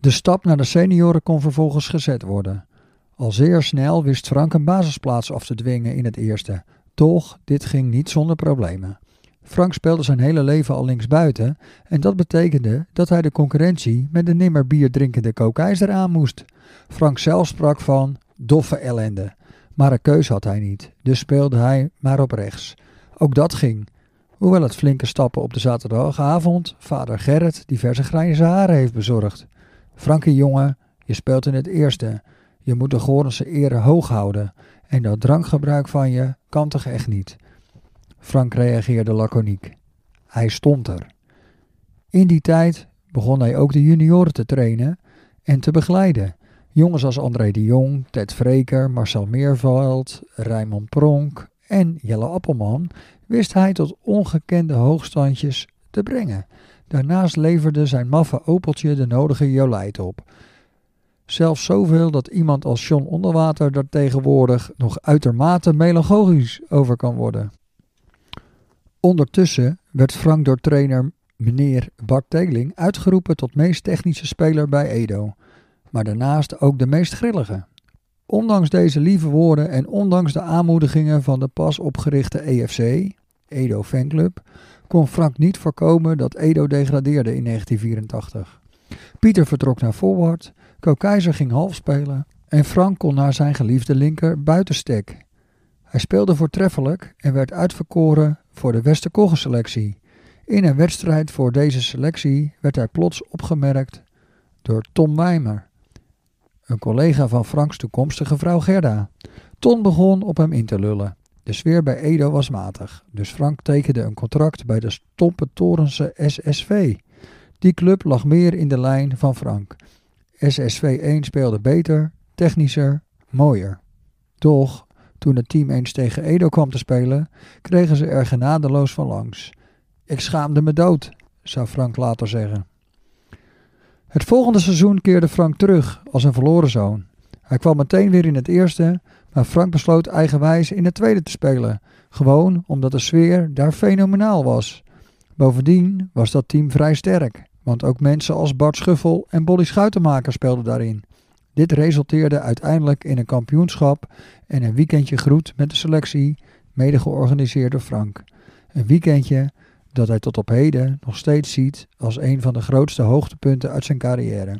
Speaker 4: De stap naar de senioren kon vervolgens gezet worden. Al zeer snel wist Frank een basisplaats af te dwingen in het eerste. Toch, dit ging niet zonder problemen. Frank speelde zijn hele leven al linksbuiten en dat betekende dat hij de concurrentie met de nimmer bier drinkende kookijzer aan moest. Frank zelf sprak van doffe ellende, maar een keus had hij niet, dus speelde hij maar op rechts. Ook dat ging. Hoewel het flinke stappen op de zaterdagavond vader Gerrit diverse grijze haren heeft bezorgd. Frankie jongen, je speelt in het eerste. Je moet de Gorense ere hoog houden en dat drankgebruik van je kan toch echt niet. Frank reageerde laconiek. Hij stond er. In die tijd begon hij ook de junioren te trainen en te begeleiden. Jongens als André de Jong, Ted Vreker, Marcel Meerveld, Raymond Pronk en Jelle Appelman wist hij tot ongekende hoogstandjes te brengen. Daarnaast leverde zijn maffe opeltje de nodige jolijt op. Zelfs zoveel dat iemand als John Onderwater daar tegenwoordig nog uitermate melancholisch over kan worden. Ondertussen werd Frank door trainer meneer Bart Tegeling uitgeroepen tot meest technische speler bij Edo, maar daarnaast ook de meest grillige. Ondanks deze lieve woorden en ondanks de aanmoedigingen van de pas opgerichte EFC, Edo Fanclub, kon Frank niet voorkomen dat Edo degradeerde in 1984. Pieter vertrok naar Forward, Kokeizer ging half spelen en Frank kon naar zijn geliefde linker buitenstek. Hij speelde voortreffelijk en werd uitverkoren voor de Westerkoggen-selectie. In een wedstrijd voor deze selectie werd hij plots opgemerkt door Tom Wijmer, een collega van Franks toekomstige vrouw Gerda. Ton begon op hem in te lullen. De sfeer bij Edo was matig, dus Frank tekende een contract bij de Stompe Torense SSV. Die club lag meer in de lijn van Frank. SSV 1 speelde beter, technischer, mooier. Toch, toen het team eens tegen Edo kwam te spelen, kregen ze er genadeloos van langs. Ik schaamde me dood, zou Frank later zeggen. Het volgende seizoen keerde Frank terug als een verloren zoon. Hij kwam meteen weer in het eerste, maar Frank besloot eigenwijs in het tweede te spelen. Gewoon omdat de sfeer daar fenomenaal was. Bovendien was dat team vrij sterk, want ook mensen als Bart Schuffel en Bolly Schuitenmaker speelden daarin. Dit resulteerde uiteindelijk in een kampioenschap en een weekendje groet met de selectie, mede georganiseerd door Frank. Een weekendje dat hij tot op heden nog steeds ziet als een van de grootste hoogtepunten uit zijn carrière.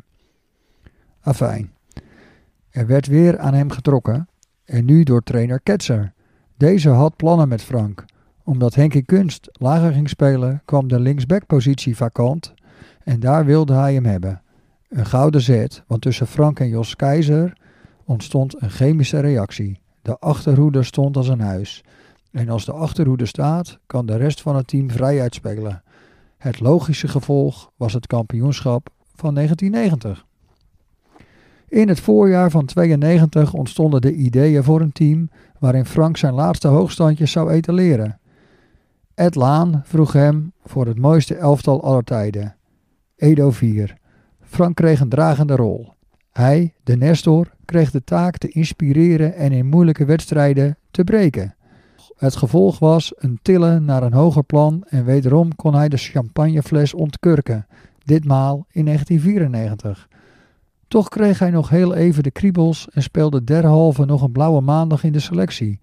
Speaker 4: Afijn. Er werd weer aan hem getrokken en nu door trainer Ketzer. Deze had plannen met Frank. Omdat Henkie Kunst lager ging spelen, kwam de linksbackpositie vakant en daar wilde hij hem hebben. Een gouden zet, want tussen Frank en Jos Keizer ontstond een chemische reactie. De achterhoede stond als een huis. En als de achterhoede staat, kan de rest van het team vrij uitspelen. Het logische gevolg was het kampioenschap van 1990. In het voorjaar van 92 ontstonden de ideeën voor een team waarin Frank zijn laatste hoogstandjes zou etaleren. Ed Laan vroeg hem voor het mooiste elftal aller tijden. Edo 4. Frank kreeg een dragende rol. Hij, de Nestor, kreeg de taak te inspireren en in moeilijke wedstrijden te breken. Het gevolg was een tillen naar een hoger plan en wederom kon hij de champagnefles ontkurken, ditmaal in 1994. Toch kreeg hij nog heel even de kriebels en speelde derhalve nog een blauwe maandag in de selectie.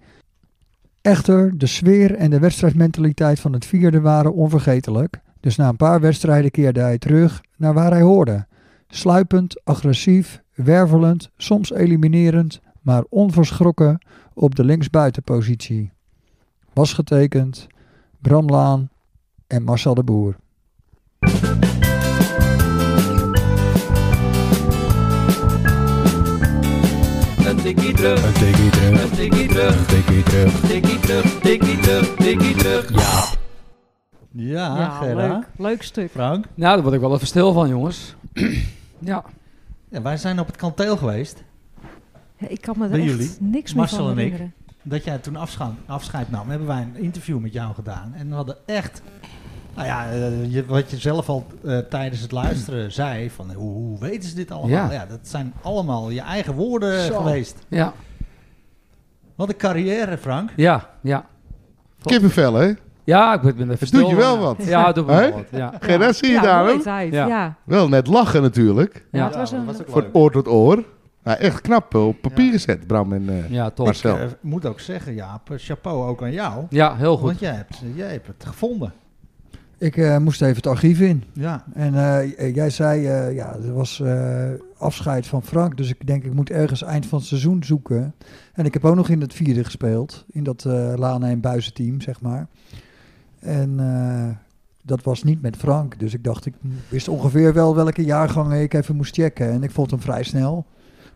Speaker 4: Echter, de sfeer en de wedstrijdmentaliteit van het vierde waren onvergetelijk, dus na een paar wedstrijden keerde hij terug naar waar hij hoorde. Sluipend, agressief, wervelend, soms eliminerend, maar onverschrokken op de linksbuitenpositie. Was getekend Bram Laan en Marcel de Boer.
Speaker 7: Een tikkie terug,
Speaker 2: Een tikkie terug,
Speaker 7: een tikkie terug,
Speaker 2: een tikkie terug.
Speaker 7: tikkie terug, tikkie terug, tikkie terug.
Speaker 1: Ja,
Speaker 5: ja,
Speaker 1: Gerda.
Speaker 5: leuk, leuk stuk.
Speaker 1: Frank.
Speaker 6: Nou, daar word ik wel even stil van, jongens. [CLEARS THROAT] ja.
Speaker 1: Ja, wij zijn op het kanteel geweest.
Speaker 5: Ik kan me er
Speaker 1: Bij
Speaker 5: echt
Speaker 1: jullie,
Speaker 5: niks
Speaker 1: Marcel
Speaker 5: meer van
Speaker 1: en ik.
Speaker 5: herinneren.
Speaker 1: Dat jij toen afscheid, afscheid nam, hebben wij een interview met jou gedaan. En we hadden echt... Nou ja, eh, je- wat je zelf al eh, tijdens het luisteren [CLEARS THROAT] zei, van eh, hoe, hoe weten ze dit allemaal?
Speaker 6: Ja.
Speaker 1: Ja. dat zijn allemaal je eigen woorden
Speaker 4: Zo.
Speaker 1: geweest.
Speaker 6: Ja,
Speaker 1: Wat een carrière, Frank.
Speaker 6: ja, ja.
Speaker 3: Kippenvel, hè?
Speaker 6: Ja, ik ben even
Speaker 3: Het
Speaker 6: stil. eh.
Speaker 3: doet je wel wat.
Speaker 6: Ja, het doet me
Speaker 3: Hè?
Speaker 6: wel wat. Ja,
Speaker 3: Geen dat zie je
Speaker 5: ja,
Speaker 3: daar,
Speaker 5: mooi
Speaker 3: hè?
Speaker 5: tijd,
Speaker 6: Ja.
Speaker 5: Ja.
Speaker 3: Wel net lachen natuurlijk.
Speaker 5: Ja,
Speaker 6: ja.
Speaker 5: het was een,
Speaker 3: Van oor tot oor. Nou, echt knap eh, op papier gezet, Bram en eh,
Speaker 6: ja top.
Speaker 3: Marcel.
Speaker 1: Ik eh, moet ook zeggen, Jaap, eh, chapeau ook aan jou.
Speaker 6: Ja, heel goed.
Speaker 1: Want jij hebt, eh, jij hebt het gevonden.
Speaker 4: Ik eh, moest even het archief in.
Speaker 1: Ja.
Speaker 4: En eh, jij zei, eh, ja, er was eh, afscheid van Frank. Dus ik denk, ik moet ergens eind van het seizoen zoeken. En ik heb ook nog in het vierde gespeeld. In dat eh Lana en Buizen team, zeg maar. En eh, dat was niet met Frank. Dus ik dacht, ik wist ongeveer wel welke jaargangen ik even moest checken. En ik vond hem vrij snel.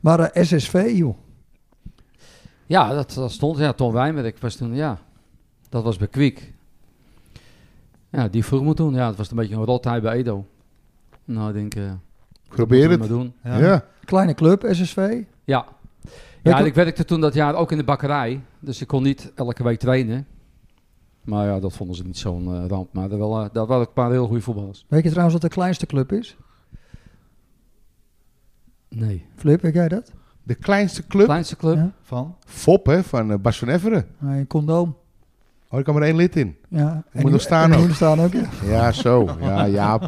Speaker 4: Maar eh, SSV, joh.
Speaker 6: Ja, dat, dat stond. Ja, Tom Wijmerk was toen, ja. Dat was bij Kwiek. Ja, die vroeg me toen. Ja, het was een beetje een rottijd bij Edo. Nou, ik denk, eh,
Speaker 3: Probeer
Speaker 6: dat
Speaker 3: het.
Speaker 6: maar doen.
Speaker 3: Ja.
Speaker 4: Kleine club, SSV.
Speaker 6: Ja. Ja, en ik werkte toen dat jaar ook in de bakkerij. Dus ik kon niet elke week trainen. Maar ja, dat vonden ze niet zo'n eh, ramp. Maar er wel, eh, daar waren een paar heel goede voetballers.
Speaker 4: Weet je trouwens wat de kleinste club is?
Speaker 6: Nee.
Speaker 4: Flip, weet jij dat?
Speaker 3: De kleinste club.
Speaker 6: Kleinste club.
Speaker 4: Ja.
Speaker 1: Van?
Speaker 3: Fop, hè, van eh, Bas van Everen.
Speaker 4: Een condoom.
Speaker 3: Oh, ik kan maar één lid in.
Speaker 4: Ja. En die-
Speaker 3: nog staan
Speaker 4: en die
Speaker 3: ook.
Speaker 4: Moet staan ook, ja.
Speaker 3: Ja, zo. Ja, Jaap.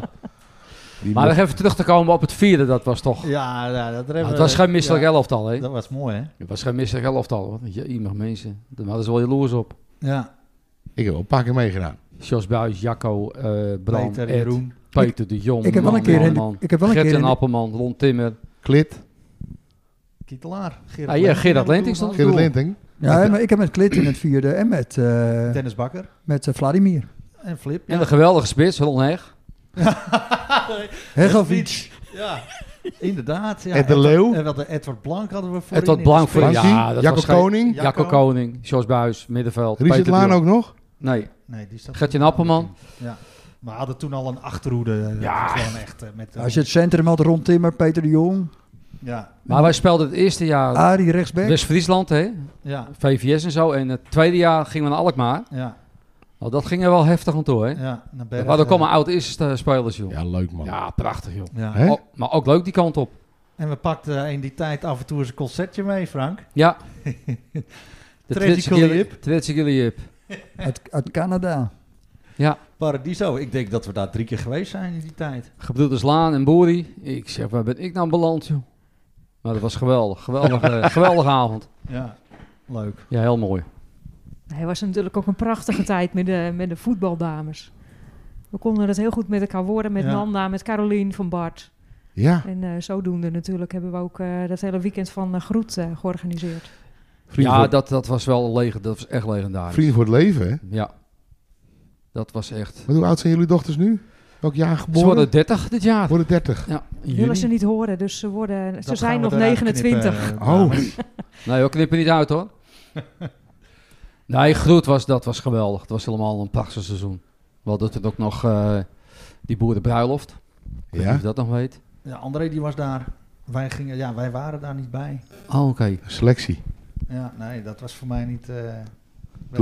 Speaker 3: Die
Speaker 6: Maar
Speaker 3: mocht-
Speaker 6: nog even terug te komen op het vierde, dat was toch...
Speaker 1: Ja, ja, dat
Speaker 6: Nou,
Speaker 1: hebben
Speaker 6: het
Speaker 1: we-
Speaker 6: was geen misselijk
Speaker 1: ja,
Speaker 6: elftal, hè?
Speaker 1: Dat was mooi, hè?
Speaker 6: Het was geen misselijk elftal, hoor. Je, iemand mensen. Daar hadden ze wel jaloers op.
Speaker 1: Ja,
Speaker 3: Ik heb wel een paar keer meegedaan.
Speaker 6: Jos Buijs, Jacco, eh Bram,
Speaker 1: Peter,
Speaker 6: Ed,
Speaker 1: Jeroen.
Speaker 6: Peter de Jong,
Speaker 4: Ik heb wel een
Speaker 6: man,
Speaker 4: keer
Speaker 6: man,
Speaker 4: in de-
Speaker 6: man.
Speaker 4: ik heb wel een
Speaker 6: Gert
Speaker 4: keer
Speaker 6: en
Speaker 4: in de-
Speaker 6: Appelman, Ron Timmer.
Speaker 3: Klit.
Speaker 1: Kietelaar. Gerard
Speaker 6: Ah, ja, Gerard Lenting
Speaker 1: bedoel,
Speaker 6: stond
Speaker 3: Gerrit
Speaker 6: Doel.
Speaker 3: Lenting.
Speaker 4: Ja, maar ik heb met Klit in het vierde en met, eh,
Speaker 1: Dennis Bakker
Speaker 4: met eh, Vladimir.
Speaker 1: en Flip. [LAUGHS]
Speaker 6: En de geweldige spits, Ron Heg.
Speaker 4: Hegovic.
Speaker 1: Ja, inderdaad. Ja.
Speaker 3: Ed de
Speaker 1: Edward-
Speaker 3: Leeuw.
Speaker 1: En wat de Edward Blank hadden we voor.
Speaker 6: Edward Blank voor-
Speaker 3: Frankie.
Speaker 6: Ja, dat
Speaker 3: Jacco
Speaker 6: was geen-
Speaker 3: Koning.
Speaker 1: Ja.
Speaker 6: Jacco
Speaker 1: Jacco.
Speaker 6: Koning, Jos Buijs, middenveld.
Speaker 3: Richard
Speaker 6: Peter de
Speaker 3: Laan
Speaker 6: Jong.
Speaker 3: ook nog.
Speaker 6: Nee,
Speaker 1: Nee, die staat.
Speaker 6: Gertjan Appelman.
Speaker 1: Ja. We hadden toen al een achterhoede. Ja. Gewoon echt eh, met. eh,
Speaker 4: Als je het centrum had, rond Timmer, Peter de Jong.
Speaker 1: Ja.
Speaker 6: Maar wij speelden het eerste
Speaker 3: Ah,
Speaker 6: jaar
Speaker 4: Arie rechtsback.
Speaker 6: Dus- West-Friesland, hè?
Speaker 1: Ja.
Speaker 6: VVS en zo. En het tweede jaar gingen we naar Alkmaar.
Speaker 1: Ja.
Speaker 6: Nou, dat ging er wel heftig aan toe, hè?
Speaker 1: Ja. Naar
Speaker 6: Er
Speaker 1: Berg,
Speaker 6: waren ook
Speaker 1: eh,
Speaker 6: allemaal oud-eerste spelers, joh. Ja,
Speaker 3: Ja, leuk man.
Speaker 6: prachtig, joh.
Speaker 1: Ja.
Speaker 3: Hè?
Speaker 6: Oh, maar ook leuk die kant op.
Speaker 1: En we pakten in die tijd af en toe eens een concertje mee, Frank.
Speaker 3: [LAUGHS]
Speaker 6: Ja. De
Speaker 1: Tragical
Speaker 6: Tretsikili-
Speaker 1: Jip.
Speaker 6: Tretsikili Jip.
Speaker 4: Uit, uit Canada.
Speaker 6: Ja.
Speaker 1: Paradiso. Ik denk dat we daar drie keer geweest zijn in die tijd.
Speaker 6: Gebroeders Laan en Boeri. Ik zeg, waar ben ik nou beland, joh? Maar dat was
Speaker 3: [LAUGHS]
Speaker 6: geweldig. Geweldige, geweldige avond.
Speaker 1: Ja, leuk.
Speaker 6: Ja, heel mooi.
Speaker 5: Nee, Het was natuurlijk ook een prachtige tijd met de, met de voetbaldames. We konden het heel goed met elkaar worden, met
Speaker 1: Ja.
Speaker 5: Nanda, met Carolien van Bart.
Speaker 3: Ja,
Speaker 5: En eh, zodoende natuurlijk hebben we ook eh, dat hele weekend van eh, Groet eh, georganiseerd.
Speaker 3: vrienden,
Speaker 6: ja,
Speaker 3: voor,
Speaker 6: dat, dat was wel leg- dat was echt legendarisch.
Speaker 3: vrienden voor het leven, hè?
Speaker 6: Ja. Dat was echt...
Speaker 3: Maar hoe oud zijn jullie dochters nu? Welk jaar
Speaker 6: Ze
Speaker 3: geboren?
Speaker 6: worden 30 dit jaar.
Speaker 3: Worden 30.
Speaker 6: Ja, in
Speaker 5: Willen ze
Speaker 6: juni.
Speaker 5: niet horen, dus ze, worden, ze
Speaker 1: Dat gaan
Speaker 5: zijn
Speaker 1: we
Speaker 5: nog
Speaker 1: eruit
Speaker 5: 29.
Speaker 1: knippen, eh,
Speaker 3: Oh,
Speaker 1: dames.
Speaker 6: Nee, we knippen niet uit [LAUGHS] hoor. nee, Groet was, dat was geweldig. Het was helemaal een prachtig seizoen. We hadden toen ook nog eh die boerenbruiloft. Ik weet niet
Speaker 3: ja.
Speaker 6: of je dat nog weet.
Speaker 1: Ja, André die was daar. Wij, gingen, ja, wij waren daar niet bij.
Speaker 6: Oh, oké.
Speaker 3: Selectie.
Speaker 1: Ja, nee, dat was voor mij niet... eh,
Speaker 3: Toen,
Speaker 6: eh.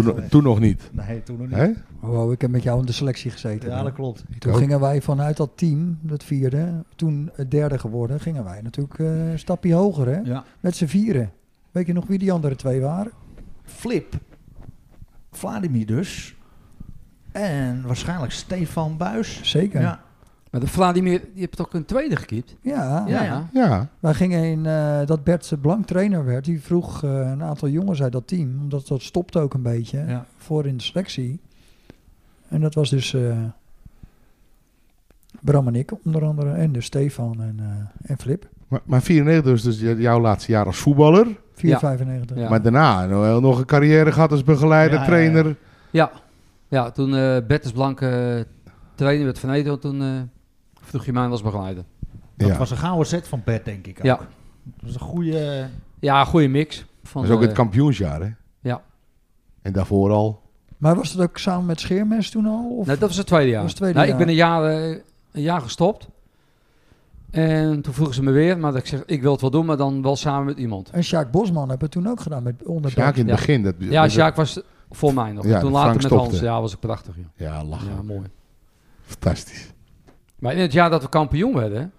Speaker 1: weggelegd.
Speaker 3: toen nog niet.
Speaker 1: Nee, toen nog niet.
Speaker 3: Hè?
Speaker 4: Wow, Oh, ik heb met jou in de selectie gezeten.
Speaker 1: Ja, dat klopt.
Speaker 4: Toen
Speaker 3: ook.
Speaker 4: gingen wij vanuit dat team, dat vierde, toen het derde geworden, gingen wij natuurlijk eh, een stapje hoger, hè?
Speaker 1: Ja.
Speaker 4: Met z'n vieren. Weet je nog wie die andere twee waren?
Speaker 1: Flip. Vladimir dus. En waarschijnlijk Stefan Buis.
Speaker 4: Zeker. Ja.
Speaker 1: Ja.
Speaker 6: Maar de Vladimir, je hebt ook een tweede gekiept.
Speaker 1: Ja,
Speaker 3: Ja.
Speaker 4: Wij gingen in eh, dat Bert Blank trainer werd. Die vroeg eh, een aantal jongens uit dat team, omdat dat stopte ook een beetje
Speaker 1: Ja.
Speaker 4: voor in de selectie. En dat was dus eh, Bram en ik onder andere, en dus Stefan en, eh, en Flip.
Speaker 3: Maar, maar 94 is dus j- jouw laatste jaar als voetballer.
Speaker 4: 495.
Speaker 6: Ja.
Speaker 3: Maar daarna nou, nog een carrière gehad als begeleider,
Speaker 1: Ja, ja, ja.
Speaker 3: trainer.
Speaker 6: Ja, ja toen eh Bertus Blanke eh, trainer werd van Edo, toen eh, vroeg je mij als begeleider.
Speaker 1: Dat
Speaker 3: Ja.
Speaker 1: was een gouden set van Bert, denk ik ook.
Speaker 6: Ja,
Speaker 1: Dat was een eh, goede...
Speaker 6: ja goede mix. Van,
Speaker 3: Dat is ook
Speaker 6: eh,
Speaker 3: het kampioensjaar, hè?
Speaker 6: ja.
Speaker 3: En daarvoor al.
Speaker 4: Maar was dat ook samen met Scheermes toen al? Of?
Speaker 6: Nee, Nou, dat was het tweede jaar.
Speaker 4: Dat was het tweede
Speaker 6: Nou,
Speaker 4: jaar.
Speaker 6: Ik ben een jaar, eh, een jaar gestopt. En toen vroegen ze me weer, maar dat ik zeg, ik wil het wel doen, maar dan wel samen met iemand.
Speaker 4: En Sjaak Bosman hebben we toen ook gedaan met onder
Speaker 3: Sjaak in het
Speaker 6: Ja.
Speaker 3: begin. Dat,
Speaker 6: Ja,
Speaker 3: dat-
Speaker 6: Sjaak was voor mij nog.
Speaker 3: Ja,
Speaker 6: toen
Speaker 3: Frank
Speaker 6: later met
Speaker 3: stopte.
Speaker 6: Hans. Ja, was ik prachtig. joh.
Speaker 3: Ja, lachen.
Speaker 6: Ja, mooi.
Speaker 3: Fantastisch.
Speaker 6: Maar in het jaar dat we kampioen werden,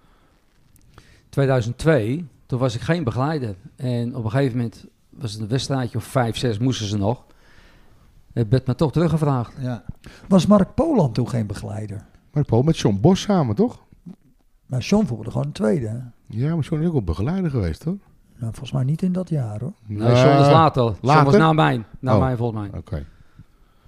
Speaker 6: 2002, toen was ik geen begeleider. En op een gegeven moment was het een wedstrijdje of vijf, zes moesten ze nog. Het werd me toch teruggevraagd.
Speaker 1: Ja.
Speaker 4: Was Mark Poland toen geen begeleider?
Speaker 3: Maar Paul, met John Bos samen, toch?
Speaker 4: Maar John voelde gewoon een tweede. hè?
Speaker 3: Ja, maar John is ook wel begeleider geweest, hoor.
Speaker 4: Nou, volgens mij niet in dat jaar hoor.
Speaker 6: Nee, John is later. John was
Speaker 3: Eh, later?
Speaker 6: na mijn. Na
Speaker 3: Oh.
Speaker 6: mijn volgens mij.
Speaker 3: Oké.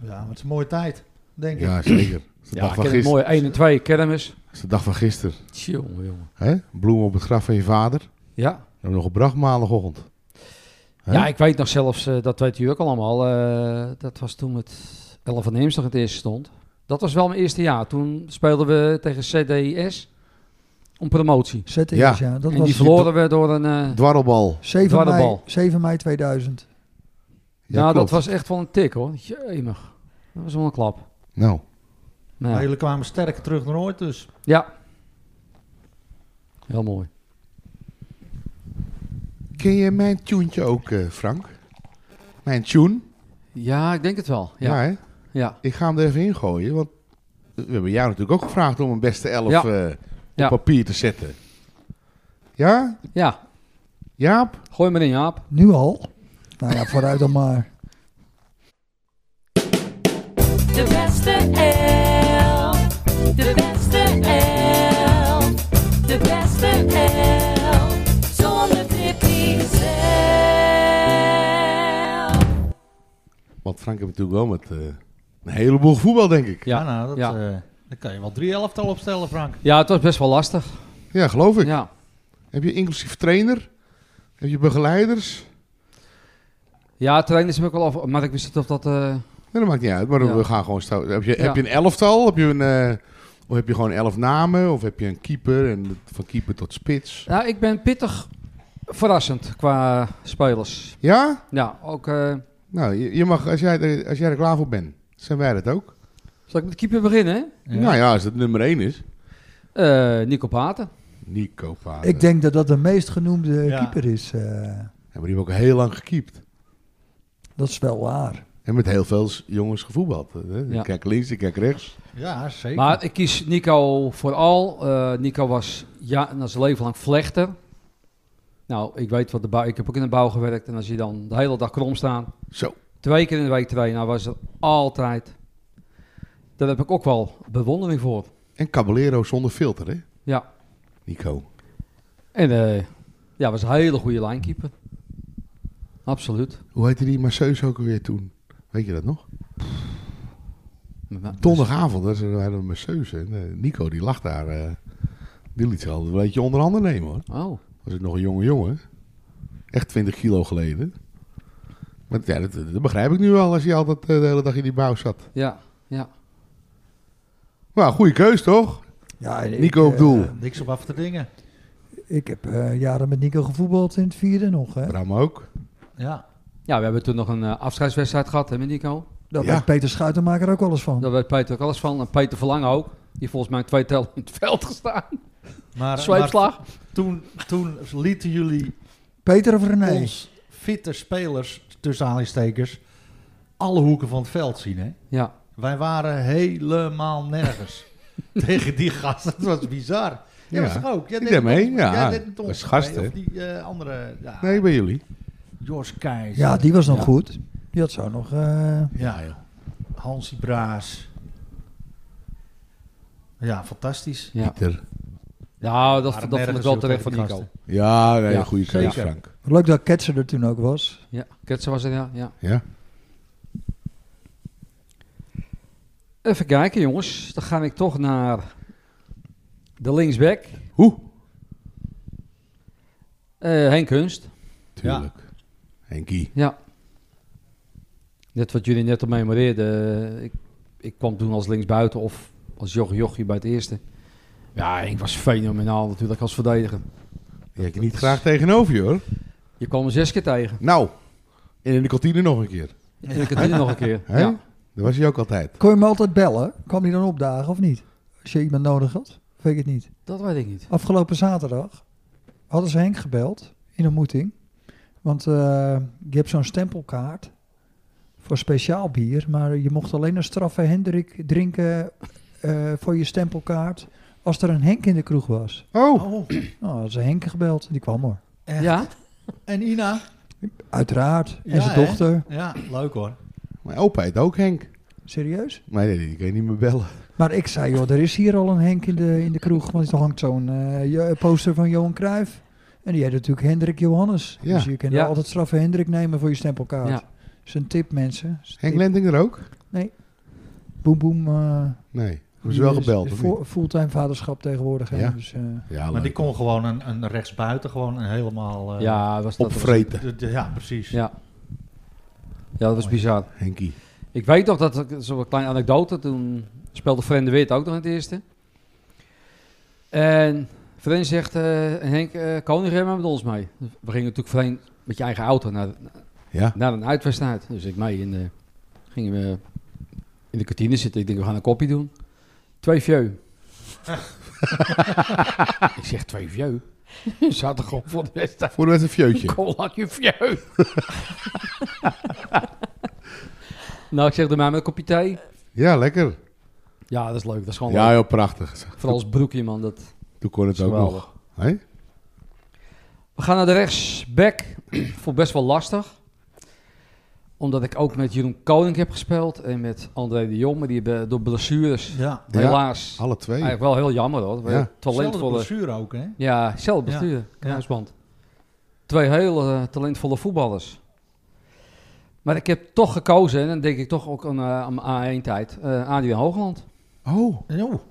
Speaker 1: ja, maar het is een mooie tijd, denk ik.
Speaker 3: Ja, zeker. Het is de
Speaker 6: Ja,
Speaker 3: dag
Speaker 6: ik
Speaker 3: van
Speaker 6: ken het
Speaker 3: gisteren.
Speaker 6: mooi. 1 en 2 kermis.
Speaker 3: Het is de dag van gisteren.
Speaker 6: Tjonge, jongen.
Speaker 3: Hè? Bloemen op het graf van je vader.
Speaker 6: Ja.
Speaker 3: En nog een brachtmaandagochtend. Hè?
Speaker 6: ja, ik weet nog zelfs, eh, dat weet u ook allemaal, eh, dat was toen met 11 van Heemsdag het eerste stond. Dat was wel mijn eerste jaar. Toen speelden we tegen CDS om promotie.
Speaker 4: ZTS, ja.
Speaker 3: Ja.
Speaker 4: Dat
Speaker 6: en
Speaker 4: was
Speaker 6: die verloren we door een... eh,
Speaker 3: Dwarrelbal.
Speaker 4: 7
Speaker 6: Dwarre
Speaker 4: mei,
Speaker 6: bal.
Speaker 4: 7 mei 2000.
Speaker 3: Ja,
Speaker 6: nou, dat
Speaker 3: klopt.
Speaker 6: was echt wel een tik hoor. Jemig. Dat was wel een klap.
Speaker 3: Nou,
Speaker 6: Nou,
Speaker 1: Maar jullie kwamen sterker terug dan ooit dus.
Speaker 6: ja. Heel mooi.
Speaker 3: ken je mijn tuentje ook, eh, Frank? Mijn tune?
Speaker 6: Ja, ik denk het wel.
Speaker 3: Ja.
Speaker 6: Ja.
Speaker 3: hè?
Speaker 6: ja.
Speaker 3: Ik ga hem er even in gooien, want we hebben jou natuurlijk ook gevraagd om een beste elf
Speaker 6: Ja.
Speaker 3: eh, op
Speaker 6: Ja.
Speaker 3: papier te zetten. Ja?
Speaker 6: ja.
Speaker 3: Jaap?
Speaker 6: Gooi maar in, Jaap.
Speaker 4: Nu al? Nou ja, vooruit dan
Speaker 6: [LAUGHS]
Speaker 4: maar.
Speaker 8: De beste elf. De beste elf. De beste elf. Zonder Tippy zelf.
Speaker 3: Want Frank heeft natuurlijk wel met eh, een heleboel voetbal, denk ik.
Speaker 6: Ja.
Speaker 1: Ja, nou, dat,
Speaker 6: Ja.
Speaker 1: eh, daar kan je wel drie elftal opstellen, Frank.
Speaker 6: Ja, het was best wel lastig.
Speaker 3: Ja, geloof ik.
Speaker 6: Ja.
Speaker 3: Heb je inclusief trainer? Heb je begeleiders?
Speaker 6: Ja, trainen is me ook wel af. Maar ik wist niet of dat... eh,
Speaker 3: Nee, dat maakt niet uit, maar
Speaker 6: Ja.
Speaker 3: we gaan gewoon... stel- Heb je,
Speaker 6: Ja.
Speaker 3: heb je een elftal? Heb je een, eh, of heb je gewoon elf namen? Of heb je een keeper? En van keeper tot spits?
Speaker 6: Nou, ik ben pittig verrassend qua spelers.
Speaker 3: Ja?
Speaker 6: Ja, ook... eh,
Speaker 3: Nou, je, je mag, als jij, er- als jij er klaar voor bent, zijn wij dat ook.
Speaker 6: zal ik met de keeper beginnen? hè?
Speaker 3: Nou ja, als dat nummer 1 is.
Speaker 6: Eh Nico Paten.
Speaker 3: Nico Vader.
Speaker 4: Ik denk dat dat de meest genoemde
Speaker 1: Ja.
Speaker 4: keeper is. eh.
Speaker 3: Ja, maar die hebben ook heel lang gekiept.
Speaker 4: dat is wel waar.
Speaker 3: En met heel veel s- jongens gevoetbald. Hè?
Speaker 6: Ja.
Speaker 3: Ik kijk links, ik kijk rechts.
Speaker 1: Ja, zeker.
Speaker 6: Maar ik kies Nico vooral. Eh, Nico was ja, na zijn leven lang vlechter. Nou, ik weet wat de bouw... Ik heb ook in de bouw gewerkt. En als je dan de hele dag krom staat...
Speaker 3: Zo.
Speaker 6: Twee keer in de week trainen, nou was er altijd... Daar heb ik ook wel bewondering voor.
Speaker 3: En Caballero zonder filter, hè?
Speaker 6: Ja.
Speaker 3: Nico.
Speaker 6: En eh Ja, was een hele goede linekeeper. Absoluut.
Speaker 3: Hoe heette die masseuse ook alweer toen? Weet je dat nog?
Speaker 6: Maar- maar-
Speaker 3: Donderdagavond, dat is een, we hadden een masseuse. En, eh, Nico, die lag daar. eh, die liet ze al een beetje onder handen nemen hoor.
Speaker 6: Oh,
Speaker 3: Was ik nog een jonge jongen. Echt 20 kilo geleden. Maar ja, dat, dat begrijp ik nu wel als je altijd eh, de hele dag in die bouw zat.
Speaker 6: ja. ja.
Speaker 3: Nou, goede keus toch?
Speaker 4: Ja, en ik,
Speaker 3: Nico op
Speaker 4: eh,
Speaker 3: doel.
Speaker 1: Niks op af te dingen.
Speaker 4: ik heb eh, jaren met Nico gevoetbald in het vierde nog. Hè.
Speaker 3: Bram ook.
Speaker 1: Ja.
Speaker 6: Ja, we hebben toen nog een eh, afscheidswedstrijd gehad, hè met Nico?
Speaker 4: Daar
Speaker 3: Ja.
Speaker 4: weet Peter Schuitenmaker ook alles van.
Speaker 6: Daar weet Peter ook alles van. En Peter Verlangen ook. Die volgens mij twee tellen in het veld gestaan.
Speaker 1: Maar, maar
Speaker 6: Zweepslag.
Speaker 1: toen, toen lieten jullie
Speaker 4: Peter of René?
Speaker 1: ons fitte spelers, tussen aanhalingstekens, alle hoeken van het veld zien. Hè?
Speaker 6: Ja.
Speaker 1: Wij waren helemaal
Speaker 3: [LAUGHS]
Speaker 1: nergens tegen die gasten. Dat was bizar. Jij
Speaker 3: Ja.
Speaker 1: was er ook. Jij
Speaker 3: Ik
Speaker 1: deed
Speaker 3: deed mee,
Speaker 1: het ook.
Speaker 3: ja.
Speaker 1: Jij deed het ons
Speaker 3: Was gast,
Speaker 1: mee. Of
Speaker 3: hè?
Speaker 1: die eh, andere, ja,
Speaker 3: Nee, bij jullie.
Speaker 1: Jos Keijs.
Speaker 4: Ja, die was nog
Speaker 1: Ja.
Speaker 4: goed. Die had zo nog... eh,
Speaker 1: Ja, joh. Hansie Braas. Ja, fantastisch.
Speaker 6: Ja,
Speaker 3: Pieter.
Speaker 6: ja
Speaker 1: Waren
Speaker 6: dat, dat vond ik
Speaker 1: nergens,
Speaker 6: wel
Speaker 1: joh,
Speaker 6: terecht van
Speaker 1: tegen die
Speaker 6: Nico.
Speaker 1: gasten.
Speaker 3: Ja, nee,
Speaker 6: Ja,
Speaker 3: goede keus,
Speaker 1: zeker.
Speaker 3: Frank.
Speaker 4: leuk dat Ketser er toen ook was.
Speaker 6: Ja, Ketsen was het, ja. ja.
Speaker 3: Ja.
Speaker 6: Even kijken, jongens. Dan ga ik toch naar de linksback.
Speaker 3: Hoe?
Speaker 6: Eh Henk Kunst.
Speaker 3: Tuurlijk. Henkie.
Speaker 6: Ja. Net wat jullie net al memoreerden. eh, Ik, ik kwam toen als linksbuiten of als joch jochie bij het eerste. Ja, ik was fenomenaal natuurlijk als verdediger.
Speaker 3: Die heb je niet graag tegenover je hoor.
Speaker 6: Je kwam me zes keer tegen.
Speaker 3: Nou. En in de kantine nog een keer.
Speaker 6: En ik het hier nog een keer.
Speaker 3: Hè?
Speaker 6: Ja.
Speaker 3: Dat was hij ook altijd.
Speaker 4: Kon je hem altijd bellen? Kwam hij dan opdagen of niet? Als je iemand nodig had? Weet ik het niet.
Speaker 6: Dat weet ik niet.
Speaker 4: Afgelopen zaterdag hadden ze Henk gebeld in een ontmoeting. Want eh, je hebt zo'n stempelkaart voor speciaal bier. Maar je mocht alleen een straffe Hendrik drinken eh, voor je stempelkaart als er een Henk in de kroeg was.
Speaker 3: Oh.
Speaker 1: Oh,
Speaker 4: Nou, hadden ze Henk gebeld. Die kwam hoor.
Speaker 1: echt.
Speaker 6: Ja?
Speaker 1: En Ina?
Speaker 4: Uiteraard. En
Speaker 1: Ja,
Speaker 4: zijn
Speaker 1: hè?
Speaker 4: dochter.
Speaker 1: Ja, leuk hoor.
Speaker 3: Mijn opa heet ook Henk.
Speaker 4: Serieus?
Speaker 3: Maar nee, die kan je niet meer bellen.
Speaker 4: Maar ik zei, joh, er is hier al een Henk in de, in de kroeg. Want er hangt zo'n eh, je- poster van Johan Cruijff. En die heet natuurlijk Hendrik Johannes.
Speaker 3: Ja.
Speaker 4: Dus je kan
Speaker 6: Ja.
Speaker 4: altijd straffe Hendrik nemen voor je stempelkaart.
Speaker 6: Ja.
Speaker 4: Dat is een tip, mensen. Dat is een
Speaker 3: Henk
Speaker 4: tip.
Speaker 3: Lenting er ook?
Speaker 4: Boem, boem. eh,
Speaker 3: Nee. Hebben ze
Speaker 4: die
Speaker 3: wel
Speaker 4: is
Speaker 3: gebeld?
Speaker 4: de
Speaker 3: Of
Speaker 4: vo-
Speaker 3: niet?
Speaker 4: Fulltime vaderschap tegenwoordig. hè.
Speaker 3: Ja.
Speaker 4: Dus, eh,
Speaker 3: Ja,
Speaker 1: Maar
Speaker 3: leuk.
Speaker 1: die kon gewoon een, een rechtsbuiten, gewoon een helemaal... eh,
Speaker 6: Ja, was dat
Speaker 3: Opvreten.
Speaker 1: de- de- ja, precies.
Speaker 6: Ja. Ja, dat was bizar.
Speaker 3: Henkie.
Speaker 6: Ik weet nog dat, ik- zo'n kleine anekdote, toen speelde Fren de Wit ook nog in het eerste. En Fren zegt, eh, Henk, eh Koning, rij maar met ons mee. We gingen natuurlijk Fren met je eigen auto naar,
Speaker 3: Ja.
Speaker 6: naar een uitwedstrijd. Dus ik mee en eh, gingen we in de kantine zitten. Ik denk, we gaan een kopje doen. Twee
Speaker 3: [LAUGHS]
Speaker 6: vieux. ik zeg, twee vieux? We zaten gewoon voor de wedstrijd.
Speaker 3: Voor de wedstrijd een fjeutje.
Speaker 6: Kolakje vieux. [LAUGHS] nou, ik zeg, doe mij met een kopje thee.
Speaker 3: Ja, lekker.
Speaker 6: Ja, dat is leuk. Dat is gewoon
Speaker 3: Ja,
Speaker 6: leuk.
Speaker 3: heel prachtig.
Speaker 6: Vooral als broekje, man. Dat
Speaker 3: Toen kon het
Speaker 6: is
Speaker 3: ook
Speaker 6: geweldig.
Speaker 3: nog. Hé?
Speaker 6: We gaan naar de rechtsback. Vond best wel lastig. Omdat ik ook met Jeroen Koning heb gespeeld. En met André de Jong. Maar die hebben door blessures,
Speaker 1: Ja.
Speaker 3: Ja,
Speaker 6: helaas.
Speaker 3: Alle twee.
Speaker 6: Eigenlijk wel heel jammer
Speaker 3: Ja.
Speaker 6: hoor.
Speaker 1: Zelfde
Speaker 6: Talentvolle.
Speaker 1: blessure ook, hè?
Speaker 6: Ja, zelf bestuur. Kruisband. Twee hele eh, talentvolle voetballers. Maar ik heb toch gekozen, en dan denk ik toch ook aan, eh, aan mijn A1-tijd, eh Adriaan Hoogland.
Speaker 3: Oh.
Speaker 1: Jo.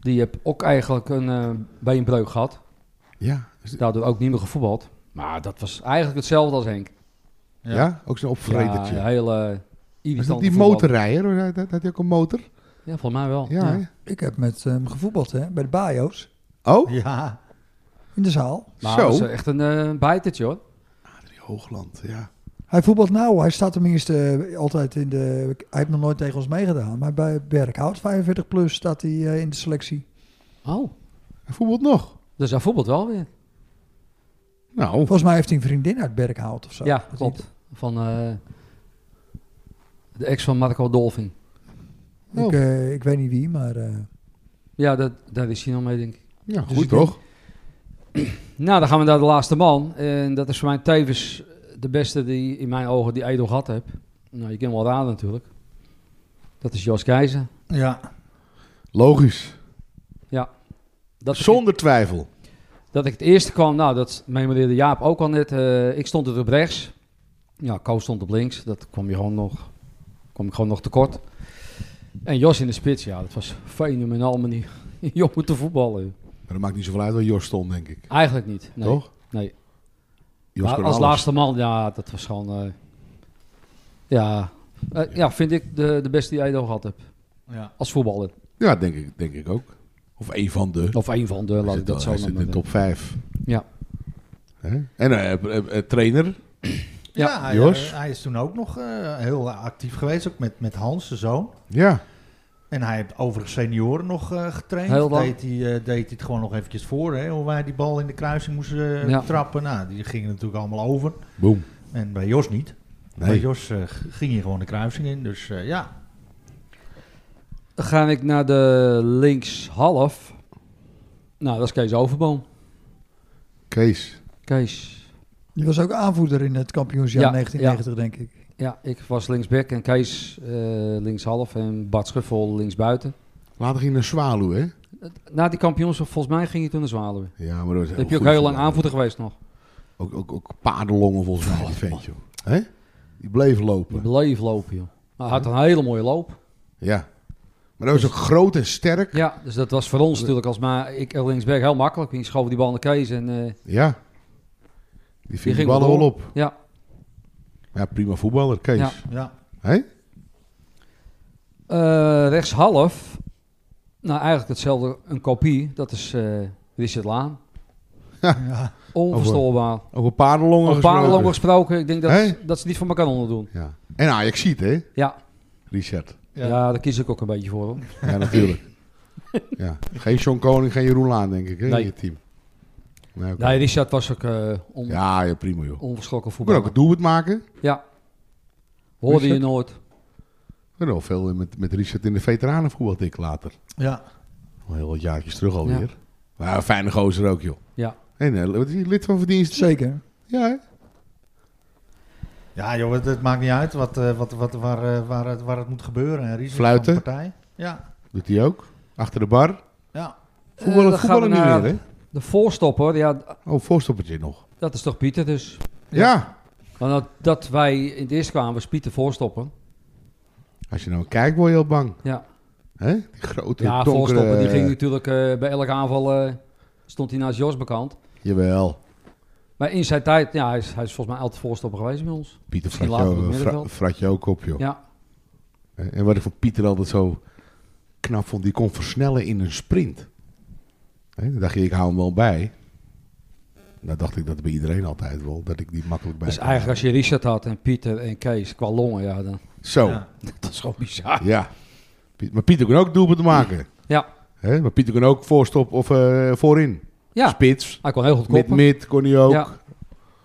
Speaker 6: Die heb ook eigenlijk een eh, beenbreuk gehad.
Speaker 3: Ja. Is-
Speaker 6: daardoor ook niet meer gevoetbald. Maar dat was eigenlijk hetzelfde als Henk.
Speaker 3: Ja. Ook zo'n opvretertje.
Speaker 6: Ja, een hele
Speaker 3: Was dat
Speaker 6: irritante
Speaker 3: die
Speaker 6: voetballer.
Speaker 3: motorrijder? Hoor, Had had hij ook een motor?
Speaker 6: Ja, volgens mij wel.
Speaker 3: Ja. hè?
Speaker 4: ik heb met hem gevoetbald hè, bij de Bajo's
Speaker 3: Oh.
Speaker 1: Ja.
Speaker 4: in de zaal.
Speaker 6: Maar
Speaker 3: Zo.
Speaker 6: dat is echt een eh bijtertje hoor.
Speaker 3: Adrie Hoogland. Ja.
Speaker 4: Hij voetbalt nou, hij staat tenminste eh, altijd in de. Hij heeft nog nooit tegen ons meegedaan, maar bij Berkhout 45 plus staat hij eh, in de selectie.
Speaker 6: Oh,
Speaker 3: En voetbalt nog.
Speaker 6: dus hij voetbalt wel weer.
Speaker 3: Nou.
Speaker 4: Volgens mij heeft hij een vriendin uit Berkhout of zo.
Speaker 6: ja,
Speaker 4: Dat hij-
Speaker 6: klopt. Van eh, de ex van Marco Dolfing.
Speaker 4: Ik,
Speaker 3: Oh.
Speaker 4: eh, ik weet niet wie, maar eh,
Speaker 6: Ja, dat, daar is hij nog mee denk ik.
Speaker 3: Ja, goed
Speaker 4: Dus ik denk-
Speaker 3: toch?
Speaker 6: Nou, dan gaan we naar de laatste man. En dat is voor mij tevens de beste die in mijn ogen die Edo gehad heb. Nou, je kan wel raden natuurlijk. Dat is Jos Keizer.
Speaker 1: Ja.
Speaker 3: Logisch.
Speaker 6: Dat
Speaker 3: Zonder twijfel.
Speaker 6: Dat ik het eerste kwam, nou, dat memoreerde Jaap ook al net. eh, ik stond er op rechts. Ja, Koos stond op links. Dat kwam je gewoon nog, kwam ik gewoon nog tekort. En Jos in de spits, ja, dat was fenomenaal [LAUGHS] om die jongen te voetballen.
Speaker 3: Maar dat maakt niet zoveel uit waar Jos stond, denk ik.
Speaker 6: Eigenlijk niet. Nee.
Speaker 3: Toch?
Speaker 6: Nee.
Speaker 3: Jos
Speaker 6: Maar
Speaker 3: kan
Speaker 6: als
Speaker 3: alles.
Speaker 6: laatste man, ja, dat was gewoon... eh, ja, Eh, ja, vind ik de, de beste die Edo gehad heb.
Speaker 1: Ja.
Speaker 6: Als voetballer.
Speaker 3: Ja, denk ik, denk ik ook. Of één van de.
Speaker 6: Of een van de,
Speaker 3: Hij
Speaker 6: laat
Speaker 3: zit
Speaker 6: ik dat
Speaker 3: wel-
Speaker 6: zo
Speaker 3: hij zit in
Speaker 6: noemen.
Speaker 3: de
Speaker 6: eh.
Speaker 3: top 5.
Speaker 6: Ja.
Speaker 3: En eh, eh, eh, trainer.
Speaker 6: Ja,
Speaker 1: Ja, hij,
Speaker 3: Jos?
Speaker 1: hij is toen ook nog eh, heel actief geweest, ook met, met Hans, zijn zoon.
Speaker 3: Ja.
Speaker 1: En hij heeft overigens senioren nog eh, getraind.
Speaker 6: Heel lang.
Speaker 1: Deed hij, eh, deed hij het gewoon nog eventjes voor, hè, hoe wij die bal in de kruising moesten eh,
Speaker 6: Ja.
Speaker 1: trappen. Nou, die gingen natuurlijk allemaal over.
Speaker 3: Boom.
Speaker 1: En bij Jos niet. Bij
Speaker 3: Nee.
Speaker 1: Jos eh, g- ging hij gewoon de kruising in. Dus eh, ja,
Speaker 6: Dan ga ik naar de linkshalf. Nou, dat is Kees Overboom.
Speaker 3: Kees.
Speaker 6: Kees.
Speaker 4: Die was ook aanvoerder in het kampioensjaar
Speaker 6: Ja,
Speaker 4: 1990, denk ik.
Speaker 6: Ja, ik was linksback en Kees eh, linkshalf en Bart Schuffel linksbuiten.
Speaker 3: Later ging hij naar Zwaluw, hè?
Speaker 6: Na die kampioenschap, volgens mij ging hij toen naar Zwaluwe.
Speaker 3: Ja, maar dat was
Speaker 6: Dan heb je ook
Speaker 3: goed
Speaker 6: heel lang
Speaker 3: gedaan.
Speaker 6: aanvoerder geweest nog.
Speaker 3: Ook, ook, ook paardenlongen volgens mij, die ventje. Hè? Die bleef
Speaker 6: Die
Speaker 3: lopen.
Speaker 6: bleef lopen, joh. Maar hij had een hele mooie loop.
Speaker 3: Ja. Maar dat was ook groot en sterk.
Speaker 6: Ja, dus dat was voor ons natuurlijk als maar ik als linksback heel makkelijk. Die schoof die bal naar Kees en eh,
Speaker 3: Ja. Die
Speaker 6: Die
Speaker 3: ving de
Speaker 6: ging
Speaker 3: ballen
Speaker 6: wel
Speaker 3: wel
Speaker 6: door.
Speaker 3: op.
Speaker 6: ja.
Speaker 3: Ja, prima voetballer, Kees.
Speaker 6: Ja.
Speaker 1: ja.
Speaker 3: Hè?
Speaker 6: Eh, rechtshalf, nou eigenlijk hetzelfde, een kopie. Dat is eh Richard Laan.
Speaker 1: ja.
Speaker 6: Onverstoorbaar.
Speaker 3: Ook een paardenlongen
Speaker 6: Een paar
Speaker 3: gesproken.
Speaker 6: lang gesproken, ik denk dat,
Speaker 3: Hey?
Speaker 6: dat ze niet van elkaar onderdoen.
Speaker 3: Ja. En Ajax ziet, hè?
Speaker 6: Ja.
Speaker 3: Richard.
Speaker 6: Ja.
Speaker 1: Ja.
Speaker 6: daar kies ik ook een beetje voor. hoor.
Speaker 3: Ja, natuurlijk. ja. Geen Sean Koning, geen Jeroen Laan, denk ik, hè,
Speaker 6: Nee.
Speaker 3: in je team. Nee, oké.
Speaker 6: Nee, Richard was ook eh on,
Speaker 3: Ja, ja, prima, joh.
Speaker 6: onverschrokken
Speaker 3: Ik kan ook
Speaker 6: voetballer.
Speaker 3: het doelwit maken.
Speaker 6: Ja. Hoorde je
Speaker 3: Richard?
Speaker 6: nooit.
Speaker 3: Ik ben al veel met, met Richard in de veteranenvoetbal, ik later.
Speaker 1: ja.
Speaker 3: Al heel wat jaartjes terug alweer. Maar een fijne gozer ook, joh.
Speaker 6: Ja.
Speaker 3: En eh, wat is hij, lid van verdienst?
Speaker 4: Zeker.
Speaker 3: Ja, hè?
Speaker 1: Ja, joh, het, het maakt niet uit wat, eh, wat, wat, waar, eh, waar, het, waar het moet gebeuren. hè. Risico
Speaker 3: Fluiten?
Speaker 1: van de partij. Ja,
Speaker 3: Doet hij ook. Achter de bar.
Speaker 1: ja.
Speaker 3: Voetballen,
Speaker 6: dan gaan
Speaker 3: voetballen
Speaker 6: Eh, we
Speaker 3: niet
Speaker 6: naar-
Speaker 3: meer, hè?
Speaker 6: De voorstopper, ja,
Speaker 3: Oh, voorstoppertje nog.
Speaker 6: dat is toch Pieter dus.
Speaker 3: Ja.
Speaker 6: Want dat, dat wij in het eerst kwamen was Pieter voorstopper.
Speaker 3: Als je nou kijkt, word je heel bang.
Speaker 6: Ja,
Speaker 3: Hè? Die grote,
Speaker 6: ja
Speaker 3: donkere...
Speaker 6: voorstopper die ging natuurlijk eh, bij elke aanval, eh, stond hij naast Jos bekend.
Speaker 3: Jawel.
Speaker 6: Maar in zijn tijd, ja, hij is, hij is volgens mij altijd voorstopper geweest bij ons.
Speaker 3: Pieter
Speaker 6: Misschien
Speaker 3: frat
Speaker 6: later op
Speaker 3: je,
Speaker 6: het
Speaker 3: ook- fra-
Speaker 6: middenveld.
Speaker 3: frat je ook op, joh.
Speaker 6: Ja,
Speaker 3: Hè? En wat ik van Pieter altijd zo knap vond, die kon versnellen in een sprint. Hè? Dan dacht je, ik hou hem wel bij. Nou dacht ik dat bij iedereen altijd wel, dat ik die makkelijk bij
Speaker 6: dus
Speaker 3: kan
Speaker 6: eigenlijk als je Richard had en Pieter en Kees qua longen, ja, dan,
Speaker 3: houden.
Speaker 6: [LAUGHS]
Speaker 3: Zo,
Speaker 1: Ja.
Speaker 3: ja.
Speaker 6: dat is gewoon bizar.
Speaker 3: Piet- Maar Pieter kon ook doelpunten maken.
Speaker 6: Ja,
Speaker 3: Hè? Maar Pieter kon ook voorstop of eh, voorin.
Speaker 6: ja.
Speaker 3: Spits,
Speaker 6: hij kon heel goed
Speaker 3: mid,
Speaker 6: koppen.
Speaker 3: mid kon hij ook.
Speaker 6: Ja.
Speaker 3: Ja,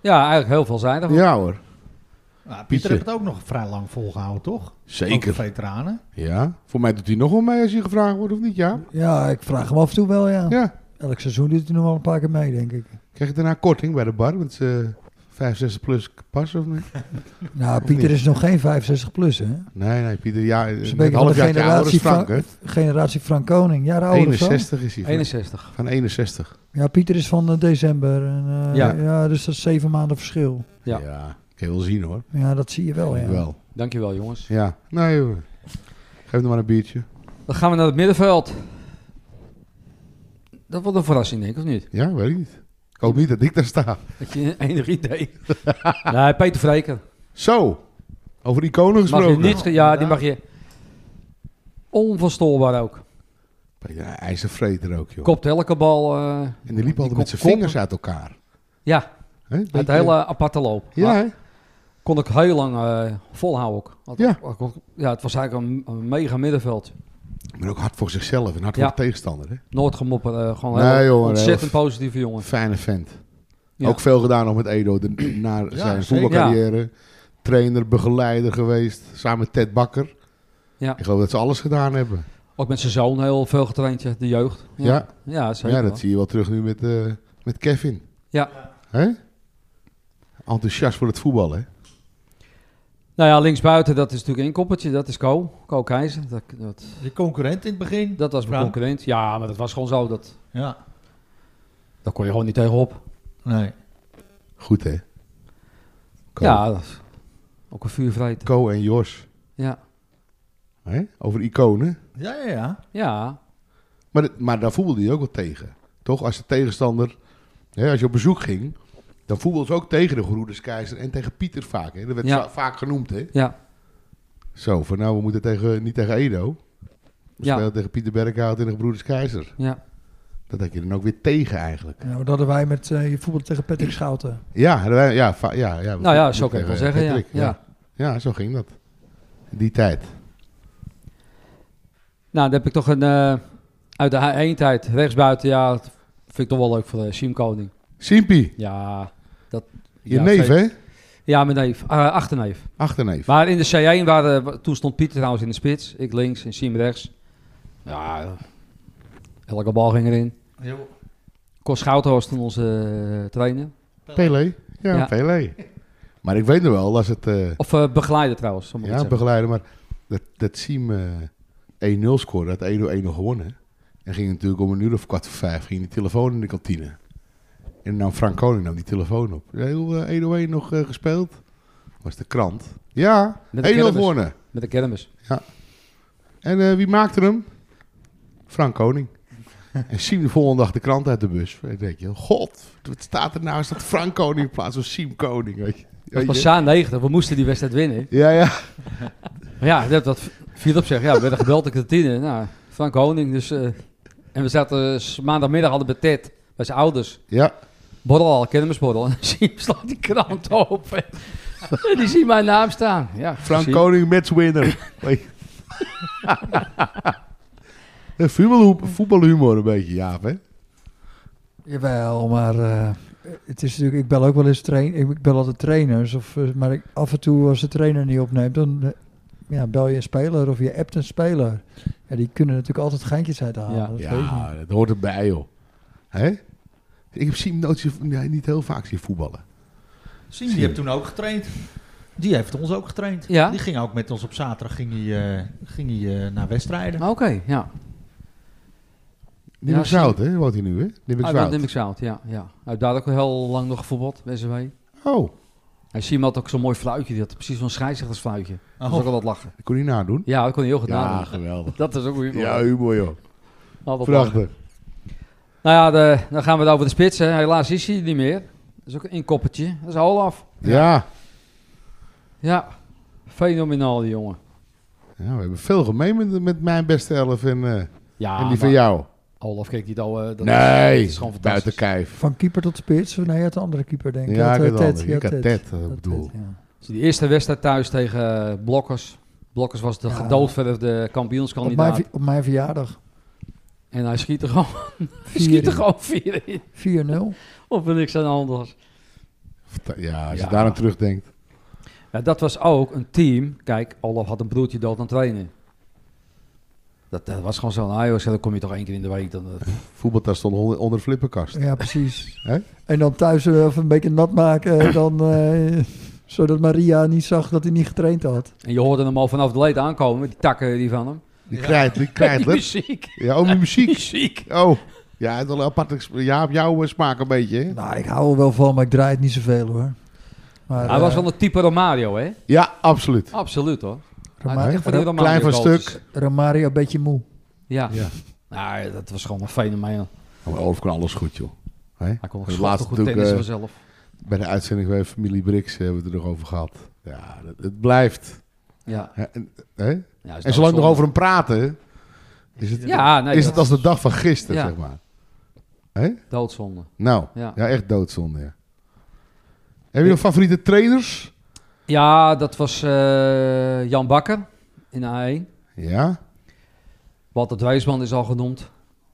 Speaker 6: Ja, eigenlijk heel veelzijdig.
Speaker 3: hoor,
Speaker 1: Nou, Pieter
Speaker 3: Pietje.
Speaker 1: heeft het ook nog vrij lang volgehouden, toch? Ook
Speaker 3: zeker.
Speaker 1: de veteranen.
Speaker 3: Ja, voor mij doet hij nog wel mee als hij gevraagd wordt of niet, ja?
Speaker 4: Ja, ik vraag hem af en toe wel, ja.
Speaker 3: Ja.
Speaker 4: Elk seizoen doet hij nog wel een paar keer mee, denk ik.
Speaker 3: Krijg je daarna korting bij de bar met z'n 65 plus pas of niet?
Speaker 4: Nou,
Speaker 3: Of
Speaker 4: Pieter
Speaker 3: niet?
Speaker 4: is nog geen 65 plus, hè?
Speaker 3: Nee, nee, Pieter, ja,
Speaker 4: Dus
Speaker 3: een
Speaker 4: een beetje
Speaker 3: net
Speaker 4: van
Speaker 3: half
Speaker 4: de
Speaker 3: jaar ouder is
Speaker 4: generatie
Speaker 3: Frank, hè?
Speaker 4: Generatie Frank Koning, jaar ouder of zo.
Speaker 3: 61 is hij. Van,
Speaker 6: 61.
Speaker 3: van 61.
Speaker 4: Ja, Pieter is van eh, december. En, eh,
Speaker 6: Ja.
Speaker 4: ja. dus dat is zeven maanden verschil.
Speaker 6: Ja.
Speaker 3: Ja. Kan je wel zien, hoor.
Speaker 4: Ja, dat zie je wel, ja.
Speaker 3: Wel.
Speaker 6: Dankjewel, jongens.
Speaker 3: Ja. Nee, hoor. Geef hem maar een biertje.
Speaker 6: Dan gaan we naar het middenveld. Dat wordt een verrassing, denk ik, of niet?
Speaker 3: Ja, weet ik niet. Ik hoop niet dat ik daar sta.
Speaker 6: Heb je een enig idee? [LAUGHS] nee, Peter Vreken.
Speaker 3: Zo. Over iconen
Speaker 6: Mag je
Speaker 3: gesproken.
Speaker 6: niet, ge- ja, die mag je... Onverstoorbaar ook.
Speaker 3: Peter, een ijzervreter ook, joh.
Speaker 6: Kopt elke bal. eh,
Speaker 3: En die liep altijd met zijn
Speaker 6: kop-
Speaker 3: vingers uit elkaar.
Speaker 6: ja,
Speaker 3: Hè?
Speaker 6: het
Speaker 3: Beetje-
Speaker 6: hele aparte loop.
Speaker 3: Ja,
Speaker 6: Maar
Speaker 3: hè?
Speaker 6: Kon ik heel lang eh, volhouden ook. Had-
Speaker 3: Ja.
Speaker 6: had- ja. Het was eigenlijk een, een mega middenveld.
Speaker 3: maar ook hard voor zichzelf en hard
Speaker 6: Ja.
Speaker 3: voor de tegenstander, hè?
Speaker 6: Nooit gemopper. eh, gewoon
Speaker 3: Nee,
Speaker 6: heel,
Speaker 3: jongen,
Speaker 6: ontzettend
Speaker 3: heel-
Speaker 6: positieve jongen.
Speaker 3: Fijne vent.
Speaker 6: Ja.
Speaker 3: Ook veel gedaan nog met Edo de, [CLEARS THROAT] na
Speaker 1: zeker.
Speaker 3: zijn voetbalcarrière. Trainer, begeleider geweest. Samen met Ted Bakker.
Speaker 6: Ja.
Speaker 3: Ik geloof dat ze alles gedaan hebben.
Speaker 6: Ook met zijn zoon heel veel getraind, ja, de jeugd.
Speaker 3: Ja,
Speaker 6: ja,
Speaker 3: Maar
Speaker 6: zeker.
Speaker 3: ja
Speaker 6: wel.
Speaker 3: dat zie je wel terug nu met, eh, met Kevin.
Speaker 6: Ja.
Speaker 3: Hè? Enthousiast voor het voetbal, hè?
Speaker 6: Nou ja, linksbuiten, dat is natuurlijk een koppeltje. Dat is Ko, Ko Keizer. Dat, dat,
Speaker 1: Je concurrent in het begin.
Speaker 6: dat was mijn
Speaker 1: Frank.
Speaker 6: concurrent. Ja, maar dat was gewoon zo. Dat,
Speaker 1: Ja.
Speaker 6: Daar kon je gewoon niet tegenop.
Speaker 1: Nee.
Speaker 3: Goed, hè? Co,
Speaker 6: Ja, dat is ook een vuurvreet.
Speaker 3: Co en Jos.
Speaker 6: Ja.
Speaker 3: Hè? Over iconen.
Speaker 1: Ja, ja, ja.
Speaker 6: Ja.
Speaker 3: Maar, dat- maar daar voetbalde je ook wel tegen. Toch? Als de tegenstander... Hè, als je op bezoek ging... Dan voetbalde ze ook tegen de Geroederskeizer en tegen Pieter vaak. Hè? Dat werd
Speaker 6: Ja.
Speaker 3: va- vaak genoemd, hè?
Speaker 6: Ja.
Speaker 3: Zo, van nou, we moeten tegen, niet tegen Edo. We
Speaker 6: Ja.
Speaker 3: spelen tegen Pieter Berghout en de Gebroederskeizer.
Speaker 6: Ja.
Speaker 3: Dat had je dan ook weer tegen eigenlijk.
Speaker 4: Ja, maar Nou, dat hadden wij met eh, voetbal tegen Patrick Schouten.
Speaker 3: Ja, ja, ja, va- ja, ja.
Speaker 6: Nou ja, zo kan je het wel
Speaker 3: Tegen
Speaker 6: zeggen. Ja.
Speaker 3: Patrick,
Speaker 6: ja.
Speaker 3: Ja, zo ging dat. In die tijd.
Speaker 6: Nou, dan heb ik toch een... eh, uit de eindtijd, rechtsbuiten, ja, dat vind ik toch wel leuk voor de Siem Koning.
Speaker 3: Simpie,
Speaker 6: Ja,
Speaker 3: je
Speaker 6: Ja,
Speaker 3: neef
Speaker 6: zeker.
Speaker 3: hè?
Speaker 6: ja mijn neef. Ah, achterneef.
Speaker 3: Achterneef.
Speaker 6: Maar in de C1, waren, wa- toen stond Pieter trouwens in de spits. Ik links en Siem rechts. Ja, elke bal ging erin. Kost Schouten was toen onze eh, trainer.
Speaker 3: Pele. Ja,
Speaker 6: Ja.
Speaker 3: Pele. Maar ik weet nog wel, als het... eh,
Speaker 6: Of eh, begeleider trouwens. zo moet ik
Speaker 3: ja,
Speaker 6: het zeggen.
Speaker 3: begeleider, maar dat, dat Siem eh 1-0 scoorde, had Edo 1-0 gewonnen. En ging natuurlijk om een uur of kwart voor vijf, ging die telefoon in de kantine. En nam Frank Koning nam die telefoon op. Zei, "Hoe, eh, 1-1 nog eh, gespeeld? Was de krant. Ja, 1-0
Speaker 6: Met de kermis.
Speaker 3: gewonnen.
Speaker 6: Met de kermis.
Speaker 3: En eh, wie maakte hem? Frank
Speaker 6: [LAUGHS]
Speaker 3: Koning. En Siem de volgende dag de krant uit de bus. En dan denk je, god, wat staat er nou? Is dat Frank Koning in plaats van Siem Koning? Weet je?
Speaker 6: Dat
Speaker 3: Weet
Speaker 6: was
Speaker 3: je?
Speaker 6: Saan 90, we moesten die wedstrijd winnen.
Speaker 3: Ja, ja.
Speaker 6: Maar ja, dat, dat Philip zegt, ja, we werden gebeld tegen de tiener. Nou, Frank Honing, dus... eh, en we zaten s- maandagmiddag hadden we Ted, bij zijn ouders.
Speaker 3: Ja,
Speaker 6: Borrel al, kennemersborrel. En Siem [LAUGHS] slaat die krant open. en die zien mijn naam staan. Ja,
Speaker 3: Frank
Speaker 6: Siem.
Speaker 3: Koning, matchwinner. Weet je? [LAUGHS] Ja, voetbalhu- Voetbalhumor een beetje, Jaap, hè?
Speaker 4: Jawel, maar eh, het is natuurlijk, ik bel ook wel eens train, ik bel altijd trainers, of, eh, maar ik, af en toe als de trainer niet opneemt, dan eh, ja, bel je een speler of je appt een speler. Ja, die kunnen natuurlijk altijd geintjes uithalen.
Speaker 6: Ja.
Speaker 4: dat weet ik niet.
Speaker 3: Ja, dat hoort erbij, joh. Hè? Ik heb Siem nooit zien- nee, niet heel vaak zien voetballen.
Speaker 1: Siem, die heeft toen ook getraind. Die heeft ons ook getraind.
Speaker 6: Ja?
Speaker 1: Die ging ook met ons op zaterdag ging hij, eh, ging hij, eh, naar wedstrijden.
Speaker 6: Ah, Oké, ja.
Speaker 3: Nimmer
Speaker 6: Ja, Siem- Ah,
Speaker 3: Zout, hè? Woont hij nu, hè? Nimmer
Speaker 6: Uit
Speaker 3: Zout.
Speaker 6: Limburg Zout, ja. ja. Hij daar ook heel lang nog gevoetbald, bij SW.
Speaker 3: Oh,
Speaker 6: En Siem had ook zo'n mooi fluitje. Die had precies zo'n scheidsrechtersfluitje.
Speaker 1: Oh.
Speaker 6: Nou, Dat was ook altijd lachen.
Speaker 3: dat kon hij nadoen.
Speaker 6: Ja, dat kon hij heel goed
Speaker 3: Ja,
Speaker 6: nadoen.
Speaker 3: geweldig.
Speaker 6: Dat is ook weer Nou,
Speaker 3: Ja, humor, joh.
Speaker 6: Altijd lachen.
Speaker 3: Prachtig.
Speaker 6: Nou ja, de- dan gaan we het over de spits. Hè. Helaas is hij er niet meer. Dat is ook een inkoppertje. Dat is Olaf.
Speaker 3: Ja.
Speaker 6: Ja, fenomenaal die jongen.
Speaker 3: Ja, we hebben veel gemeen met, met mijn beste elf en, eh,
Speaker 6: Ja,
Speaker 3: en die van
Speaker 6: Ah, maar
Speaker 3: jou.
Speaker 6: Olaf keek niet al. eh, dat
Speaker 3: nee,
Speaker 6: is, dat is gewoon fantastisch.
Speaker 3: buiten kijf.
Speaker 4: Van keeper tot spits, nee, je had de andere keeper denk ik. Je
Speaker 3: Ja,
Speaker 4: had,
Speaker 3: ik
Speaker 4: eh,
Speaker 3: had
Speaker 4: Ted,
Speaker 3: Ted.
Speaker 4: je
Speaker 3: Ik
Speaker 4: had
Speaker 3: had
Speaker 4: Ted.
Speaker 3: Ted, eh,
Speaker 4: Dat
Speaker 3: op doel.
Speaker 4: Ted, ja.
Speaker 6: Dus die eerste wedstrijd thuis tegen eh, Blokkers. Blokkers was de
Speaker 4: Ja.
Speaker 6: gedoodverfde
Speaker 4: Op, mijn,
Speaker 6: kampioenskandidaat.
Speaker 4: ver- op mijn verjaardag,
Speaker 6: En hij schiet er gewoon, [LAUGHS] hij schiet er
Speaker 4: 4-0.
Speaker 6: gewoon vier in. Of er niks aan de hand was.
Speaker 3: Verta- Ja, als je
Speaker 6: Ja.
Speaker 3: daar aan terugdenkt.
Speaker 6: Ja, dat was ook een team. Kijk, Olaf had een broertje dood aan het trainen. Dat, dat was gewoon zo. Nou joh, dan kom je toch één keer in de week. Dan, eh. dat-
Speaker 3: Voetbaltas stond onder, onder de flipperkast.
Speaker 4: Ja, precies.
Speaker 3: Hè?
Speaker 4: en dan thuis eh, even een beetje nat maken, eh, dan, eh, zodat Maria niet zag dat hij niet getraind had.
Speaker 6: En je hoorde hem al vanaf de leed aankomen, die takken die van hem.
Speaker 3: Die krijt, die
Speaker 6: [LAUGHS] Die
Speaker 3: krijtler.
Speaker 6: muziek.
Speaker 3: Ja, oh, die muziek.
Speaker 6: Muziek.
Speaker 3: Oh, ja, het is wel een aparte... sp- Ja, op jouw eh, smaak een beetje, hè?
Speaker 4: Nou, ik hou er wel van, maar ik draai het niet zoveel hoor. Maar,
Speaker 6: Hij was
Speaker 4: eh,
Speaker 6: wel een type Romario, hè?
Speaker 3: Ja, absoluut.
Speaker 6: Absoluut hoor. Hij
Speaker 4: Roma-
Speaker 6: had echt van die
Speaker 4: Ro-
Speaker 6: Romario
Speaker 3: Klein van
Speaker 6: goals.
Speaker 3: stuk.
Speaker 4: Romario een beetje moe.
Speaker 6: Ja.
Speaker 3: Ja.
Speaker 6: Nou, dat was gewoon een fenomeen.
Speaker 3: Maar Olaf kon alles goed, joh. Hè?
Speaker 6: Hij kon
Speaker 3: Het
Speaker 6: ook schotten
Speaker 3: laatste
Speaker 6: goed
Speaker 3: natuurlijk,
Speaker 6: tennissen
Speaker 3: eh,
Speaker 6: vanzelf.
Speaker 3: Bij de uitzending bij Familie Brix eh, hebben we het er nog over gehad. Ja, dat- het blijft.
Speaker 6: Ja.
Speaker 3: Hè? En, hè?
Speaker 6: Ja, is
Speaker 3: en
Speaker 6: dat
Speaker 3: zolang we
Speaker 6: zonde.
Speaker 3: nog over hem praten, is het,
Speaker 6: Ja, nee,
Speaker 3: is
Speaker 6: dat
Speaker 3: het als de dag van gisteren,
Speaker 6: Ja.
Speaker 3: zeg maar.
Speaker 6: doodzonde.
Speaker 3: Nou, ja,
Speaker 6: Ja.
Speaker 3: echt doodzonde, ja. Heb je nog favoriete trainers?
Speaker 6: Ja, dat was eh, Jan Bakker in de A1.
Speaker 3: Ja.
Speaker 6: Walter Dwijsman is al genoemd.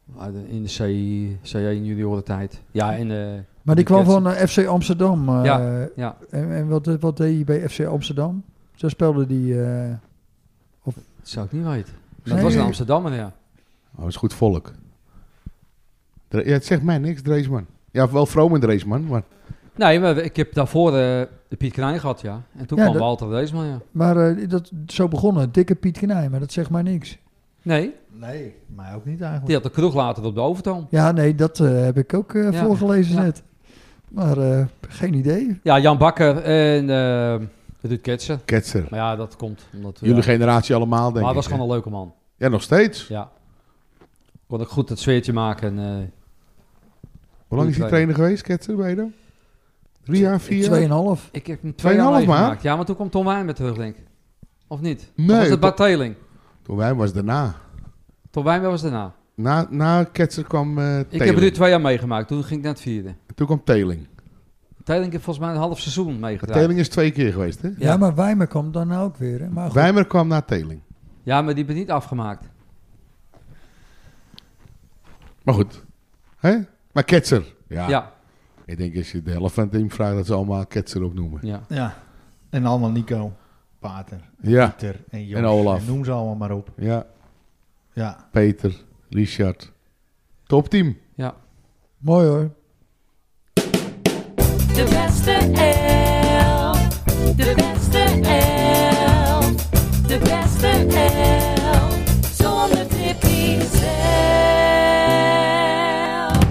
Speaker 6: Maar de- In de C, C1 juniorentijd. Ja, en eh,
Speaker 4: Maar die
Speaker 6: Die
Speaker 4: kwam
Speaker 6: kids.
Speaker 4: van eh, FC Amsterdam. eh,
Speaker 6: ja.
Speaker 4: En, en wat, eh, wat deed hij bij FC Amsterdam? Zo speelde die. eh,
Speaker 6: dat zou ik niet weten. Dat
Speaker 4: Nee.
Speaker 6: was nou in Amsterdam, maar ja.
Speaker 3: Oh, dat is goed volk. Dre- ja, het zegt mij niks, Dreesman. Ja, wel Vroom en Dreesman, maar...
Speaker 6: Nee, maar ik heb daarvoor eh, de Piet Krijn gehad, ja. En toen
Speaker 4: Ja,
Speaker 6: kwam
Speaker 4: dat-
Speaker 6: Walter Dwijsman, ja.
Speaker 4: maar eh, dat, zo begonnen. Dikke Piet Knij, maar dat zegt mij niks.
Speaker 6: Nee,
Speaker 1: Nee, mij ook niet eigenlijk.
Speaker 6: die had de kroeg later op de overtoon.
Speaker 4: Ja, nee, dat eh, heb ik ook eh,
Speaker 6: Ja.
Speaker 4: voorgelezen
Speaker 6: Ja.
Speaker 4: net. Maar eh, geen idee.
Speaker 6: Ja, Jan Bakker en eh Ruud Ketsen.
Speaker 3: Ketser.
Speaker 6: Maar ja, dat komt omdat... we-
Speaker 3: Jullie
Speaker 6: ja.
Speaker 3: generatie allemaal, denk
Speaker 6: Maar
Speaker 3: ik.
Speaker 6: het was
Speaker 3: hè?
Speaker 6: gewoon een leuke man.
Speaker 3: Ja, nog steeds.
Speaker 6: Ja. Kon ik goed het zweertje maken. En, eh,
Speaker 3: Hoe lang is die trainer geweest, Ketser, bij je dan? Drie jaar, vier jaar?
Speaker 4: Tweeënhalf.
Speaker 6: ik heb hem twee jaar
Speaker 3: Tweeënhalf maar?
Speaker 6: meegemaakt. Ja, maar toen kwam Tom Wijn met terug, denk ik. Of niet?
Speaker 3: Nee,
Speaker 6: Of was het
Speaker 3: Tom-
Speaker 6: Bart Teling?
Speaker 3: Toen wij was daarna.
Speaker 6: Tom Wijn was daarna.
Speaker 3: Na, na Ketser kwam eh,
Speaker 6: Ik
Speaker 3: Teling.
Speaker 6: heb Ruud twee jaar meegemaakt. Toen ging ik naar het vierde.
Speaker 3: Toen kwam Teling.
Speaker 6: Teling heeft volgens mij een half seizoen meegedraaid.
Speaker 3: Teling is twee keer geweest, hè?
Speaker 4: Ja.
Speaker 6: Ja.
Speaker 4: maar Wijmer kwam daarna ook weer. Hè? Maar goed.
Speaker 3: Wijmer kwam na Teling.
Speaker 6: Ja, maar die ben niet afgemaakt.
Speaker 3: Maar goed. Hè? Maar Ketser. Ja.
Speaker 6: Ja. ja.
Speaker 3: Ik denk als je de helft van het team vraagt dat ze allemaal Ketser opnoemen.
Speaker 1: Ja, en allemaal Nico, Pater,
Speaker 3: Ja.
Speaker 1: Pieter en Jos.
Speaker 3: En Olaf.
Speaker 1: noem ze allemaal maar op.
Speaker 3: Ja.
Speaker 1: Ja,
Speaker 3: Peter, Richard. Topteam.
Speaker 4: Mooi hoor.
Speaker 8: De beste elf. De beste elf. De beste elf. Zonder Tippy zelf.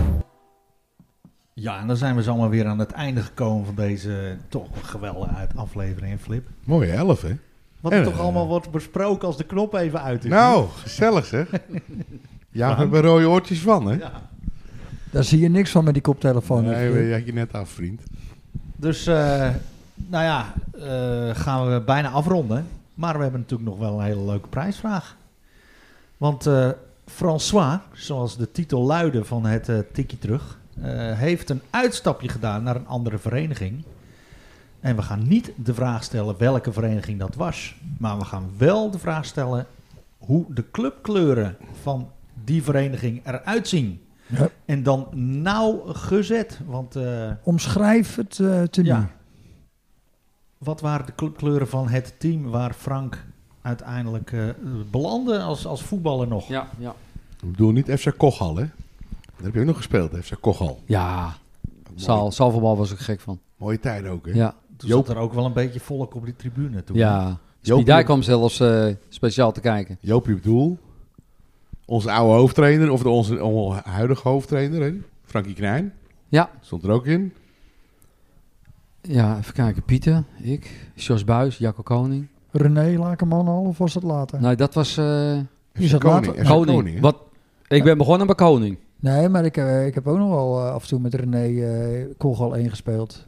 Speaker 1: ja en dan zijn we zo maar weer aan het einde gekomen van deze eh, toch geweldige uit- aflevering, hè, Flip.
Speaker 3: Mooie elf, hè?
Speaker 1: Wat er
Speaker 3: En,
Speaker 1: toch
Speaker 3: eh,
Speaker 1: allemaal wordt besproken als de knop even uit is.
Speaker 3: Nou,
Speaker 1: [LAUGHS]
Speaker 3: gezellig, hè? Ja, we hebben rode oortjes van, hè?
Speaker 1: Ja.
Speaker 4: Daar zie je niks van met die koptelefoon.
Speaker 3: Nee, we- je had je net af, vriend.
Speaker 1: Dus, eh, nou ja, eh, gaan we bijna afronden. Maar we hebben natuurlijk nog wel een hele leuke prijsvraag. Want eh, François, zoals de titel luidde van het eh tikkie terug, eh, heeft een uitstapje gedaan naar een andere vereniging. En we gaan niet de vraag stellen welke vereniging dat was. Maar we gaan wel de vraag stellen hoe de clubkleuren van die vereniging eruit zien.
Speaker 4: Ja.
Speaker 1: En dan nauwgezet, want... eh,
Speaker 4: Omschrijf het eh tenue.
Speaker 1: ja. Wat waren de clubkleuren van het team waar Frank uiteindelijk eh, belandde als, als voetballer nog?
Speaker 6: Ja, ja.
Speaker 3: Ik bedoel niet FC Kochal, hè? Daar heb je ook nog gespeeld, hè? FC Kochal.
Speaker 6: Ja,
Speaker 3: Mooie-
Speaker 6: zaal, zaalvoetbal was ik gek van.
Speaker 3: Mooie tijd ook, hè?
Speaker 6: Ja,
Speaker 1: Toen
Speaker 3: Joop.
Speaker 1: zat er ook wel een beetje volk op die tribune toen.
Speaker 6: ja.
Speaker 3: Joop-
Speaker 6: Die daar kwam zelfs eh, speciaal te kijken.
Speaker 3: Joopie op doel. Onze oude hoofdtrainer, of de, onze, onze huidige hoofdtrainer, hè? Frankie Knijn.
Speaker 6: Ja.
Speaker 3: Stond er ook in.
Speaker 6: Ja, even kijken. Pieter, ik, Jos Buis, Jacco Koning.
Speaker 4: René Lakenman al, of was dat later?
Speaker 6: Nee, dat was eh,
Speaker 4: Wie is dat
Speaker 3: Koning.
Speaker 4: later?
Speaker 3: FC
Speaker 6: Koning.
Speaker 3: hè?
Speaker 6: Wat, ik ben begonnen bij Koning.
Speaker 4: Nee, maar ik, eh, ik heb ook nog wel eh, af en toe met René eh Kogel 1 gespeeld.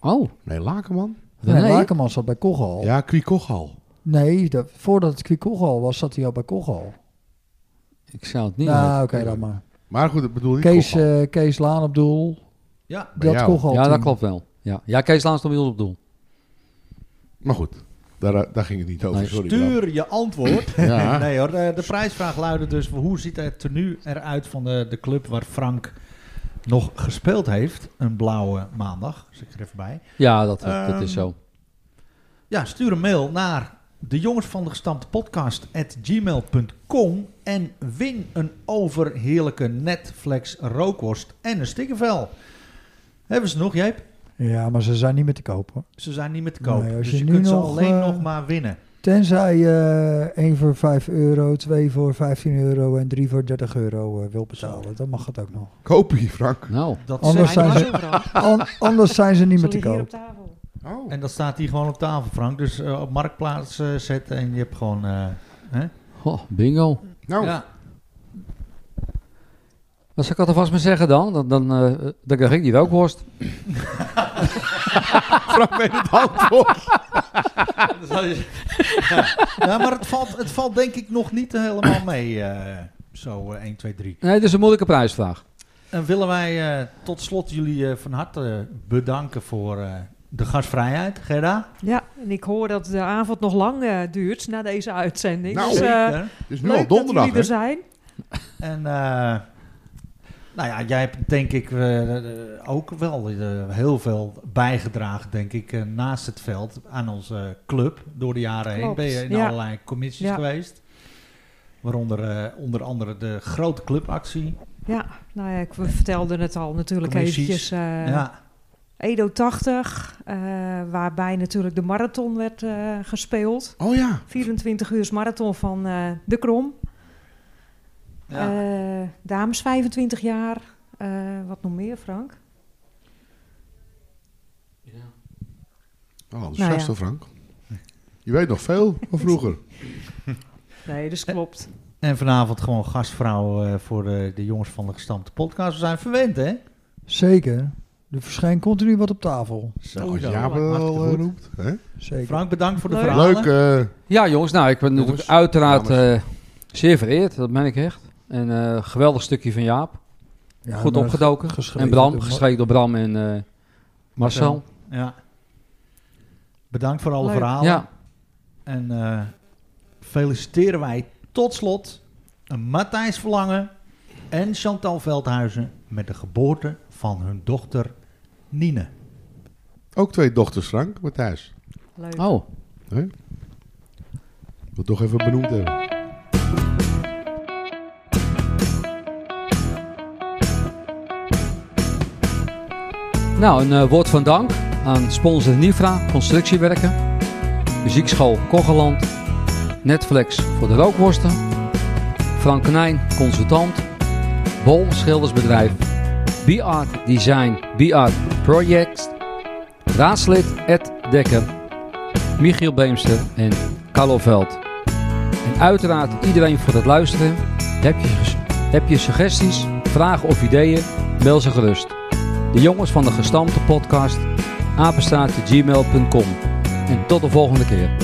Speaker 6: Oh,
Speaker 3: Nee, Lakenman.
Speaker 4: René
Speaker 6: René?
Speaker 4: Lakenman zat bij Kogel.
Speaker 3: Ja, Kwie Kochal.
Speaker 4: Nee, dat- voordat het Kwiek Kogel was, zat hij al bij Kogel.
Speaker 6: ik zou het niet weten.
Speaker 4: Nou, oké, dan maar.
Speaker 3: Maar goed, ik bedoel niet
Speaker 4: Kees,
Speaker 3: Kochal.
Speaker 4: eh, Kees Laan op doel.
Speaker 1: Ja.
Speaker 3: Bij
Speaker 4: Dat
Speaker 3: jou.
Speaker 4: Kogel.
Speaker 6: Ja, dat
Speaker 4: team.
Speaker 6: klopt wel. Ja, ja Kees Laans stond bij ons op doel.
Speaker 3: Maar goed, daar, daar ging het niet over.
Speaker 6: Nee,
Speaker 3: Sorry, Bram.
Speaker 1: Stuur je antwoord. [LAUGHS]
Speaker 3: Ja.
Speaker 1: nee hoor, eh, de prijsvraag luidde dus hoe ziet het tenue eruit van de, de club waar Frank nog gespeeld heeft. Een blauwe maandag, zeg ik er even bij.
Speaker 6: Ja, dat, dat
Speaker 1: Ehm,
Speaker 6: is zo.
Speaker 1: Ja, stuur een mail naar de jongens van de gestampte podcast at gmail.com en win een overheerlijke Netflix rookworst en een stikkervel. Hebben ze nog, Jeep?
Speaker 4: Ja, maar ze zijn niet meer te koop hoor.
Speaker 1: Ze zijn niet meer te koop.
Speaker 4: Nee,
Speaker 1: dus
Speaker 4: als je
Speaker 1: je
Speaker 4: nu
Speaker 1: kunt ze
Speaker 4: nog,
Speaker 1: alleen
Speaker 4: eh,
Speaker 1: nog maar winnen.
Speaker 4: Tenzij eh 1 voor 5 euro, 2 voor 15 euro en 3 voor 30 euro eh, wil betalen. Dan mag het ook nog.
Speaker 3: Kopie, Frank.
Speaker 4: Ehm.
Speaker 6: Nou,
Speaker 1: Dat
Speaker 4: Anders
Speaker 1: zijn
Speaker 4: zijn
Speaker 1: ze.
Speaker 4: ze, an- anders zijn ze niet meer te
Speaker 5: hier op
Speaker 4: koop.
Speaker 5: tafel.
Speaker 3: Oh.
Speaker 1: En dat staat hier gewoon op tafel, Frank. Dus eh, op marktplaats eh, zetten en je hebt gewoon... eh,
Speaker 6: oh, bingo.
Speaker 3: Nou,
Speaker 1: ja.
Speaker 6: Wat zou ik alvast maar zeggen dan? Dan, dan, eh, dan krijg ik die rookworst.
Speaker 3: Frank weet het antwoord.
Speaker 1: ja, maar het valt, het valt denk ik nog niet helemaal mee. eh, zo eh, 1, 2, 3.
Speaker 6: Nee, dat is een moeilijke prijsvraag.
Speaker 1: En willen wij eh, tot slot jullie eh, van harte bedanken voor eh, de gastvrijheid, Gerda.
Speaker 5: Ja, en ik hoor dat de avond nog lang eh, duurt na deze uitzending.
Speaker 3: Nou,
Speaker 5: dus, eh,
Speaker 1: Zeker.
Speaker 3: Het is nu al
Speaker 5: leuk dat
Speaker 3: donderdag,
Speaker 5: jullie
Speaker 3: hè?
Speaker 5: er zijn.
Speaker 1: En eh, nou ja, jij hebt denk ik eh, eh, ook wel eh, heel veel bijgedragen, denk ik, eh, naast het veld aan onze club door de jaren heen.
Speaker 5: Klopt,
Speaker 1: Ben je in
Speaker 5: ja.
Speaker 1: allerlei commissies
Speaker 5: Ja.
Speaker 1: geweest. Waaronder eh, onder andere de grote clubactie.
Speaker 5: Ja, nou ja, ik vertelde het al natuurlijk
Speaker 1: Commissies.
Speaker 5: eventjes. eh,
Speaker 1: ja,
Speaker 5: Edo 80, eh, waarbij natuurlijk de marathon werd eh, gespeeld.
Speaker 3: Oh ja.
Speaker 5: 24 uur marathon van eh, de Krom.
Speaker 7: Ja.
Speaker 5: Eh, dames 25 jaar. Eh, wat nog meer, Frank?
Speaker 6: Ja.
Speaker 3: Oh,
Speaker 5: Nou
Speaker 3: enthousiast
Speaker 5: ja.
Speaker 3: hoor, Frank. Je weet nog veel van
Speaker 1: [LAUGHS]
Speaker 3: vroeger.
Speaker 5: Nee, dus klopt.
Speaker 1: En vanavond gewoon gastvrouw eh, voor de, de jongens van de gestampte podcast. We zijn verwend, hè?
Speaker 4: Zeker. Er verschijnt continu wat op tafel.
Speaker 1: Zo,
Speaker 3: Als Jaap het
Speaker 1: Hartstikke
Speaker 3: al eh,
Speaker 1: goed.
Speaker 3: roept. Hè?
Speaker 4: Zeker.
Speaker 1: Frank, bedankt voor de
Speaker 5: Leuk.
Speaker 1: verhalen.
Speaker 3: Leuk, eh,
Speaker 6: Ja, jongens, nou, ik ben
Speaker 3: Jongens,
Speaker 6: natuurlijk uiteraard eh, zeer vereerd, dat ben ik echt. En eh, geweldig stukje van Jaap.
Speaker 4: Ja,
Speaker 6: Goed
Speaker 4: maar
Speaker 6: opgedoken.
Speaker 4: geschreven
Speaker 6: En Bram,
Speaker 4: door Ma-
Speaker 6: geschreven door Bram en eh, Marcel.
Speaker 1: Ja. Bedankt voor alle
Speaker 5: Leuk.
Speaker 1: verhalen.
Speaker 6: Ja,
Speaker 1: En eh, feliciteren wij tot slot Matthijs Verlangen en Chantal Veldhuizen met de geboorte van hun dochter Nine.
Speaker 3: ook twee dochters, Frank, Matthijs.
Speaker 5: Leuk.
Speaker 6: oh.
Speaker 3: Wil het toch even benoemd hebben.
Speaker 6: Nou, een eh, woord van dank aan sponsor Nifra, constructiewerken, muziekschool Kogeland, Netflix voor de rookworsten, Frank Knijn, consultant, Bol Schildersbedrijf, B-Art Design, B-Art Project, raadslid Ed Dekker, Michiel Beemster en Carlo Veld. En uiteraard iedereen voor het luisteren. Heb je, ges- heb je suggesties, vragen of ideeën, mail ze gerust. De jongens van de gestampte podcast, apenstaartje gmail.com. En tot de volgende keer.